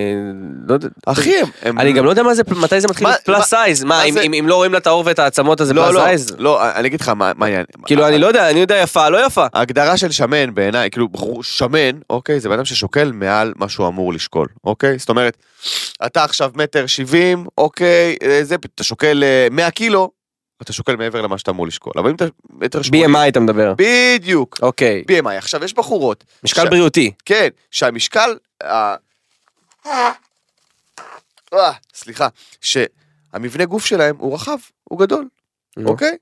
C: לא יודע.
B: אחי, הן...
C: אני גם לא יודע מה זה, מתי זה מתחיל
B: מה-
C: להיות פלאס סייז, מה,
B: מה
C: אם-
B: זה-
C: אם אם לא רואים לה את העור ואת העצמות אז זה
B: לא,
C: פלאס
B: לא, אה,
C: סייז?
B: לא, אני אגיד לך מה מה העניין.
C: כאילו אני לא יודע, אני יודע יפה, לא יפה.
B: ההגדרה של שמן בעיניי, כאילו בחור שמן, אוקיי, זה בן אדם ששוקל מעל מה שהוא אמור לשקול, אוקיי? זאת אומרת, אתה עכשיו מטר שבעים, אוקיי, אה, זה, אתה שוקל אה, 100 קילו, אתה שוקל מעבר למה שאתה אמור לשקול. אבל אם אתה מטר שמונים...
C: BMI אתה מדבר.
B: בדיוק.
C: אוקיי,
B: BMI. עכשיו, יש בחורות,
C: משקל
B: ש-
C: בריאותי.
B: כן, שהמשקל... ה- אה, סליחה, שהמבנה גוף שלהם הוא רחב, הוא גדול,
C: נו.
B: אוקיי?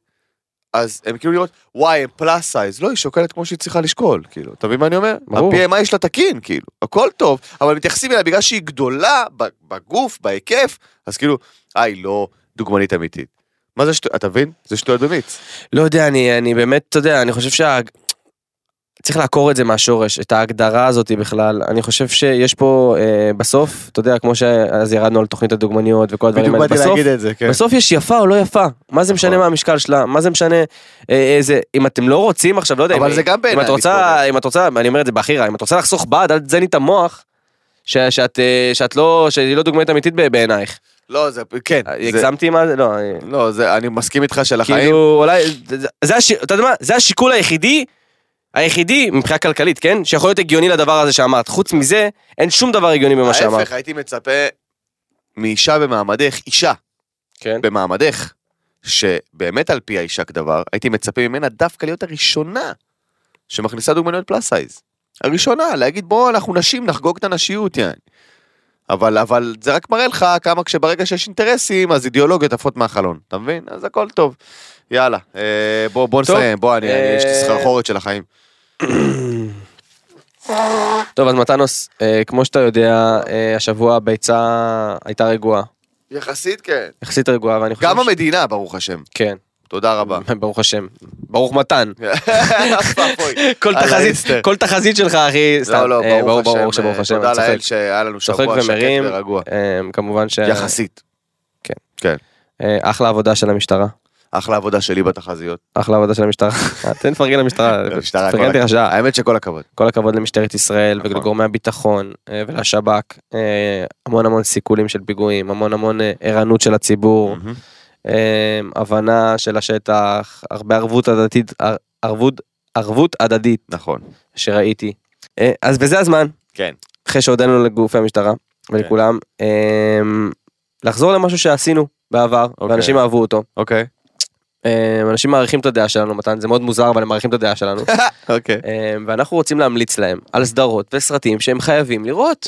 B: אז הם כאילו לראות, וואי, הם פלאס סייז, לא, היא שוקלת כמו שהיא צריכה לשקול, כאילו, אתה מבין מה אני אומר?
C: ברור.
B: ה-PMI שלה תקין, כאילו, הכל טוב, אבל מתייחסים אליה בגלל שהיא גדולה ב- בגוף, בהיקף, אז כאילו, אה, היא לא דוגמנית אמיתית. מה זה שטויות, אתה מבין? זה שטויות במיץ.
C: לא יודע, אני, אני באמת, אתה יודע, אני חושב שה... צריך לעקור את זה מהשורש, את ההגדרה הזאת בכלל. אני חושב שיש פה, אה, בסוף, אתה יודע, כמו שאז ירדנו על תוכנית הדוגמניות וכל הדברים
B: בדיוק
C: האלה,
B: באתי
C: בסוף,
B: להגיד את זה, כן.
C: בסוף יש יפה או לא יפה. מה זה משנה
B: נכון.
C: מה המשקל שלה? מה זה משנה אה, איזה... אם אתם לא רוצים עכשיו, לא יודע,
B: אבל
C: אם,
B: זה גם
C: אם
B: בעיניי
C: את רוצה,
B: להתמודד.
C: אם את רוצה, אני אומר את זה בהכי רע, אם את רוצה לחסוך בד, אל תזייני את המוח. ש- שאת, אה, שאת לא, שהיא לא דוגמנית אמיתית ב- בעינייך.
B: לא, זה, כן. זה-
C: הגזמתי עם ה... לא, אה,
B: לא, זה, אני מסכים איתך שלחיים.
C: כאילו אולי, זה- זה- זה הש- אתה יודע מה, זה השיקול היחידי, היחידי מבחינה כלכלית, כן? שיכול להיות הגיוני לדבר הזה שאמרת. חוץ מזה, אין שום דבר הגיוני במה שאמרת.
B: ההפך, הייתי מצפה מאישה במעמדך, אישה
C: כן.
B: במעמדך, שבאמת על פי האישה כדבר, הייתי מצפה ממנה דווקא להיות הראשונה שמכניסה דוגמניות פלאס סייז. הראשונה, להגיד בוא אנחנו נשים, נחגוג את הנשיות, יעני. אבל, אבל זה רק מראה לך כמה כשברגע שיש אינטרסים, אז אידיאולוגיות עפות מהחלון, אתה מבין? אז הכל טוב. יאללה, אה, בוא, בוא
C: טוב.
B: נסיים, בוא, אני, אני, יש לי
C: אה,
B: סחרחורת של החיים.
C: טוב, אז מתנוס, אה, כמו שאתה יודע, אה, השבוע הביצה הייתה רגועה.
B: יחסית כן.
C: יחסית רגועה, ואני חושב...
B: גם
C: ש-
B: המדינה, ברוך השם.
C: כן.
B: תודה רבה.
C: ברוך השם. ברוך מתן. כל
B: על
C: תחזית,
B: האינסטר.
C: כל תחזית שלך, אחי, סתם.
B: לא, לא,
C: אה,
B: ברוך השם.
C: ברור שברוך
B: אה,
C: השם,
B: תודה
C: אני צוחק.
B: לאל שהיה לנו
C: צוחק
B: שבוע שקט
C: ומרים.
B: ורגוע.
C: אה, כמובן ש...
B: יחסית.
C: כן.
B: כן.
C: אה, אחלה עבודה של המשטרה.
B: אחלה עבודה שלי בתחזיות.
C: אחלה עבודה של המשטרה. אה, תן לפרגן למשטרה.
B: המשטרה, כל
C: פרגנתי לך שעה.
B: האמת שכל הכבוד.
C: כל הכבוד למשטרת ישראל
B: נכון.
C: ולגורמי הביטחון אה, ולשב"כ. אה, המון המון סיכולים של פיגועים, המון המון אה, ערנות של הציבור,
B: Mm.
C: אה, הבנה של השטח, הרבה ערבות הדדית, ער- ערבות, ערבות הדדית
B: נכון.
C: שראיתי. אה, אז בזה הזמן,
B: כן.
C: אחרי שהודענו לגופי המשטרה ולכולם, אה, לחזור למשהו שעשינו בעבר,
B: אוקיי.
C: ואנשים אהבו אותו.
B: אוקיי.
C: אה, אנשים מעריכים את הדעה שלנו, מתן, זה מאוד מוזר, אבל הם מעריכים את הדעה שלנו.
B: אוקיי.
C: אה, ואנחנו רוצים להמליץ להם על סדרות וסרטים שהם חייבים לראות.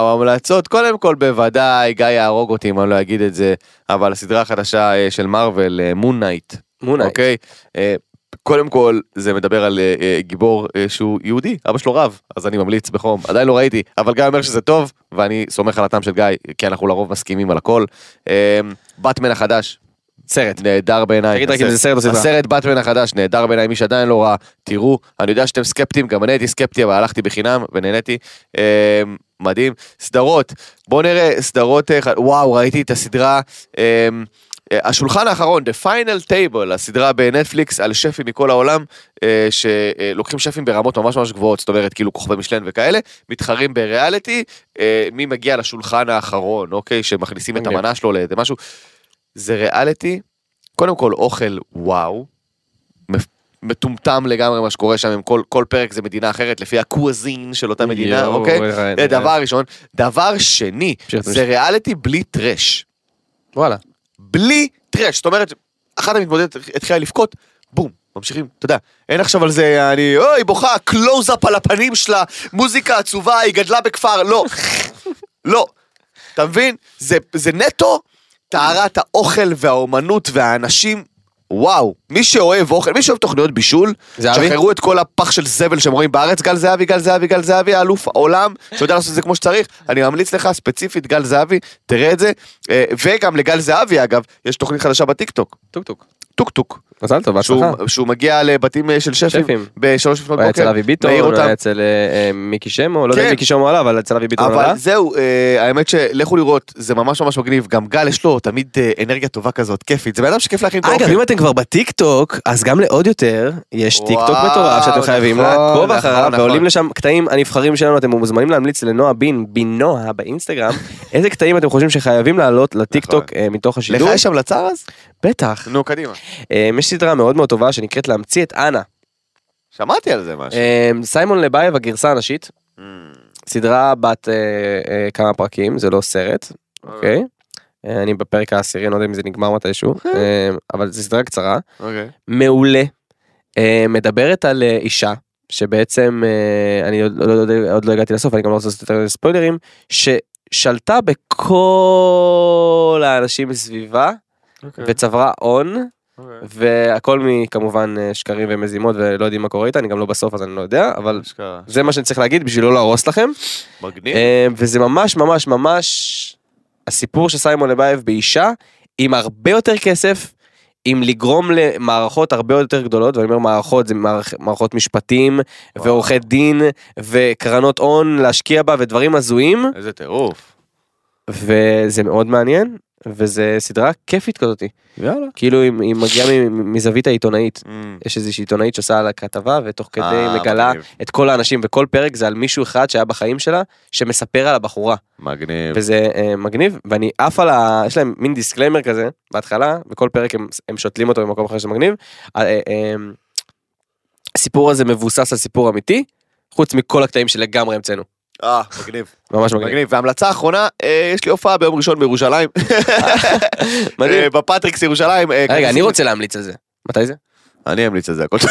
B: וואו, המלצות. קודם כל, בוודאי, גיא יהרוג אותי אם אני לא אגיד את זה, אבל הסדרה החדשה אה, של מארוול, מון נייט.
C: מונה.
B: אוקיי? אה, קודם כל, זה מדבר על אה, אה, גיבור אה, שהוא יהודי, אבא שלו רב, אז אני ממליץ בחום, עדיין לא ראיתי, אבל גיא אומר שזה טוב, ואני סומך על הטעם של גיא, כי אנחנו לרוב מסכימים על הכל. אה, באטמן החדש,
C: סרט.
B: נהדר בעיניי.
C: תגיד רק אם זה סרט או סדרה.
B: הסרט באטמן החדש, נהדר בעיניי, מי שעדיין לא ראה, תראו, אני יודע שאתם סקפטיים, גם אני הייתי סקפטי, אבל הלכתי בחינם ונהניתי. אה, מדהים. סדרות, בואו נראה סדרות, אה, ח- וואו, ראיתי את הסדרה. אה, אה, השולחן האחרון, The Final Table, הסדרה בנטפליקס על שפים מכל העולם, אה, שלוקחים שפים ברמות ממש ממש גבוהות, זאת אומרת כאילו כוכבי משלן וכאלה, מתחרים בריאליטי, אה, מי מגיע לשולחן האחרון, אוקיי? שמכניסים את
C: מגניב.
B: המנה שלו לאיזה משהו. זה ריאליטי, קודם כל אוכל וואו, מפ- מטומטם לגמרי מה שקורה שם, עם כל, כל פרק זה מדינה אחרת לפי הקווזין של אותה מדינה,
C: יואו,
B: אוקיי?
C: אה,
B: זה דבר ראשון. דבר שני,
C: פשוט, פשוט.
B: זה ריאליטי בלי טרש.
C: וואלה.
B: בלי טרש, זאת אומרת, אחת המתמודדת התחילה לבכות, בום, ממשיכים, אתה יודע, אין עכשיו על זה, אני, אוי, בוכה, קלוז-אפ על הפנים שלה, מוזיקה עצובה, היא גדלה בכפר, לא, לא, אתה מבין? זה, זה נטו טהרת האוכל והאומנות והאנשים. וואו, מי שאוהב אוכל, מי שאוהב תוכניות בישול,
C: זהבי?
B: שחררו את כל הפח של זבל שהם רואים בארץ, גל זהבי, גל זהבי, גל זהבי, האלוף העולם, שיודע לעשות את זה כמו שצריך, אני ממליץ לך ספציפית, גל זהבי, תראה את זה, אה, וגם לגל זהבי אגב, יש תוכנית חדשה בטיקטוק,
C: טוק טוק.
B: טוקטוק,
C: מזל טוב,
B: שהוא,
C: בהצלחה. אוקיי.
B: שהוא מגיע לבתים אה, של שפים,
C: שפים.
B: בשלוש לפנות
C: הוא היה אצל
B: בוקר,
C: אבי ביטון,
B: מעיר
C: הוא
B: אותם,
C: היה אצל אה, אה, מיקי שמו, לא יודע
B: כן.
C: אם מיקי שמו עלה, אבל אצל אבי ביטון עלה.
B: אבל זהו, אה, האמת שלכו לראות, זה ממש ממש מגניב, גם גל יש לו תמיד אה, אנרגיה טובה כזאת, כיפית, זה בן אדם שכיף להכין את האוכל.
C: אגב, אם אתם כבר בטיקטוק, אז גם לעוד יותר, יש טיקטוק
B: וואו,
C: מטורף שאתם חייבים
B: נכון,
C: לעקוב
B: נכון,
C: אחריו,
B: נכון.
C: ועולים לשם קטעים הנבחרים שלנו, אתם מוזמנים להמליץ לנועה בין, בין נועה באינסטגרם, איזה קטעים אתם חושבים שחייבים לעלות לטיקטוק אה, מתוך
B: נכון. לך
C: השידור.
B: יש המלצה אז?
C: בטח.
B: נו, קדימה.
C: אמ, יש סדרה מאוד מאוד טובה שנקראת להמציא את אנה.
B: שמעתי על זה משהו. Mm.
C: אמ, סיימון לבייב הגרסה הנשית, סדרה בת אה, אה, כמה פרקים, זה לא סרט, אוקיי? אה, אני בפרק העשירי, אני לא יודע אם זה נגמר מתישהו, אמ, אבל זו סדרה קצרה.
B: אוקיי.
C: מעולה. אה, מדברת על אה, אישה שבעצם אה, אני עוד לא, לא, יודע- עוד לא הגעתי לסוף אני גם לא רוצה לעשות יותר ספוילרים ששלטה בכל האנשים מסביבה וצברה הון והכל מכמובן אה, שקרים ומזימות ולא יודעים מה קורה איתה אני גם לא בסוף אז אני לא יודע אבל זה מה שאני צריך להגיד בשביל לא להרוס לכם
B: מגניב.
C: אה, וזה ממש ממש ממש הסיפור של סיימון לבייב באישה עם הרבה יותר כסף. עם לגרום למערכות הרבה יותר גדולות, ואני אומר מערכות, זה מערכ, מערכות משפטים,
B: וואו.
C: ועורכי דין, וקרנות הון להשקיע בה, ודברים הזויים,
B: איזה טירוף.
C: וזה מאוד מעניין, וזה סדרה כיפית כזאתי.
B: יאללה.
C: כאילו היא, היא מגיעה מ- מזווית העיתונאית. יש איזושהי עיתונאית שעושה על הכתבה ותוך כדי
B: Mm. אה,
C: היא מגלה
B: מגניב.
C: את כל האנשים וכל פרק זה על מישהו אחד שהיה בחיים שלה שמספר על הבחורה
B: מגניב.
C: וזה אה, מגניב ואני עף על ה... יש להם מין דיסקליימר כזה בהתחלה בכל פרק הם, הם שותלים אותו במקום אחר שזה מגניב. ה- אה, אה, הסיפור הזה מבוסס על סיפור אמיתי חוץ מכל הקטעים שלגמרי המצאנו
B: אה, מגניב.
C: ממש מגניב.
B: מגניב. והמלצה האחרונה, אה, יש לי הופעה ביום ראשון בירושלים.
C: מדהים.
B: אה, בפטריקס ירושלים. אה,
C: רגע
B: כרטיס-
C: אני רוצה להמליץ על זה. מתי זה?
B: אני אמליץ על זה, הכל טוב.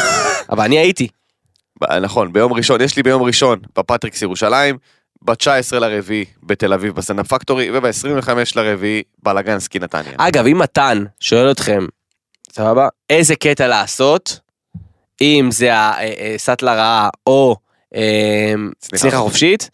C: אבל אני הייתי.
B: ב- נכון, ביום ראשון, יש לי ביום ראשון בפטריקס ירושלים, ב-19 לרביעי בתל אביב בסטנדאפ פקטורי, וב-25 לרביעי בלגנסקי נתניה.
C: אגב, אם מתן שואל אתכם, סבבה, איזה קטע לעשות, אם זה אה, הסטלה רעה או אה,
B: צניחה
C: צניחה חופשית,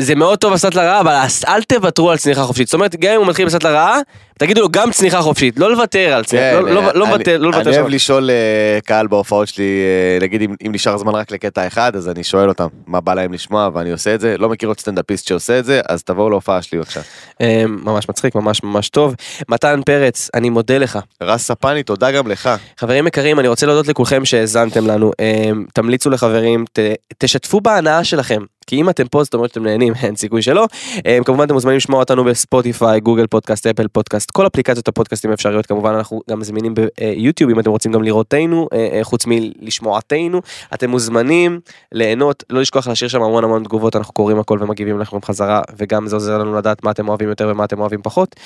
C: זה מאוד טוב הסטלה רעה, אבל הס- אל תוותרו על צניחה חופשית. זאת אומרת, גם אם הוא מתחיל בסטלה רעה, תגידו לו גם צניחה חופשית, לא לוותר על צניחה, לא- לא- לא
B: כן, אה, אני-
C: לוותר, לא לוותר
B: אני אוהב
C: שם.
B: לשאול אה, קהל בהופעות שלי, אה, נגיד אם אם נשאר זמן רק לקטע אחד, אז אני שואל אותם מה בא להם לשמוע, ואני עושה את זה. לא מכיר עוד סטנדאפיסט שעושה את זה, אז תבואו להופעה שלי בבקשה.
C: אה, ממש מצחיק, ממש ממש טוב. מתן פרץ, אני מודה לך.
B: רז ספני, תודה גם לך.
C: חברים יקרים, אני רוצה להודות לכולכם שהאזנתם לנו. אה, תמליצו לחברים, ת, תשתפו בהנאה שלכם. כי אם אתם פה, זאת אומרת שאתם נהנים, אין סיכוי שלא. אה, כמובן, אתם מוזמנים לשמוע אותנו בספוטיפיי, גוגל פודקאסט, אפל פודקאסט, כל אפליקציות הפודקאסטים האפשריות. כמובן, אנחנו גם זמינים ביוטיוב, אם אתם רוצים גם לראותנו, אה, אה, חוץ מלשמועתנו. אתם מוזמנים ליהנות, לא לשכוח להשאיר שם המון המון תגובות, אנחנו קוראים הכל ומגיבים לכם חזרה, וגם זה עוזר לנו לדעת מה אתם אוהבים יותר ומה אתם אוהבים פחות.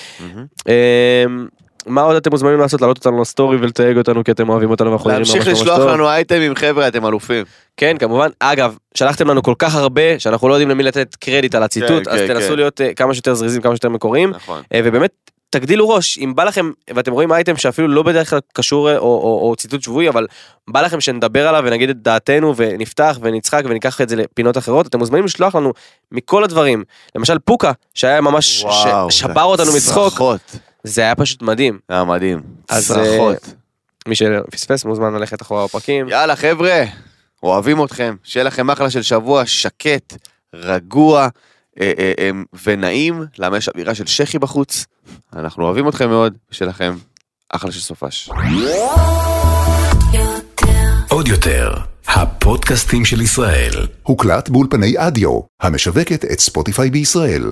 C: אמ, מה עוד אתם מוזמנים לעשות? להעלות אותנו לסטורי ולתייג אותנו כי אתם אוהבים אותנו ואנחנו נראים ממש
B: להמשיך
C: ממש
B: לשלוח
C: טוב.
B: לנו אייטמים, חבר'ה, אתם אלופים.
C: כן כמובן אגב שלחתם לנו כל כך הרבה שאנחנו לא יודעים למי לתת קרדיט על הציטוט
B: כן,
C: אז
B: כן,
C: תנסו
B: כן.
C: להיות אה, כמה שיותר זריזים כמה שיותר מקוריים
B: נכון.
C: אה, ובאמת תגדילו ראש אם בא לכם ואתם רואים אייטם שאפילו לא בדרך כלל קשור אה, או, או, או ציטוט שבועי אבל בא לכם שנדבר עליו ונגיד את דעתנו ונפתח ונצחק וניקח את זה לפינות אחרות אתם מוזמנים לשלוח לנו מכל הדברים למשל פוקה שהיה ממש ש- שבר אותנו מצחוק
B: צרחות.
C: זה היה פשוט מדהים
B: היה מדהים.
C: אז,
B: אה, צרחות.
C: מי שפספס מוזמן ללכת אחורה בפרקים.
B: יאללה חבר'ה, אוהבים אתכם, שיהיה לכם אחלה של שבוע שקט, רגוע אה, אה, אה, ונעים, למה יש אווירה של שחי בחוץ. אנחנו אוהבים אתכם מאוד, שיהיה לכם אחלה של סופש.
A: עוד יותר, הפודקאסטים של ישראל.
D: הוקלט באולפני אדיו, המשווקת את ספוטיפיי בישראל.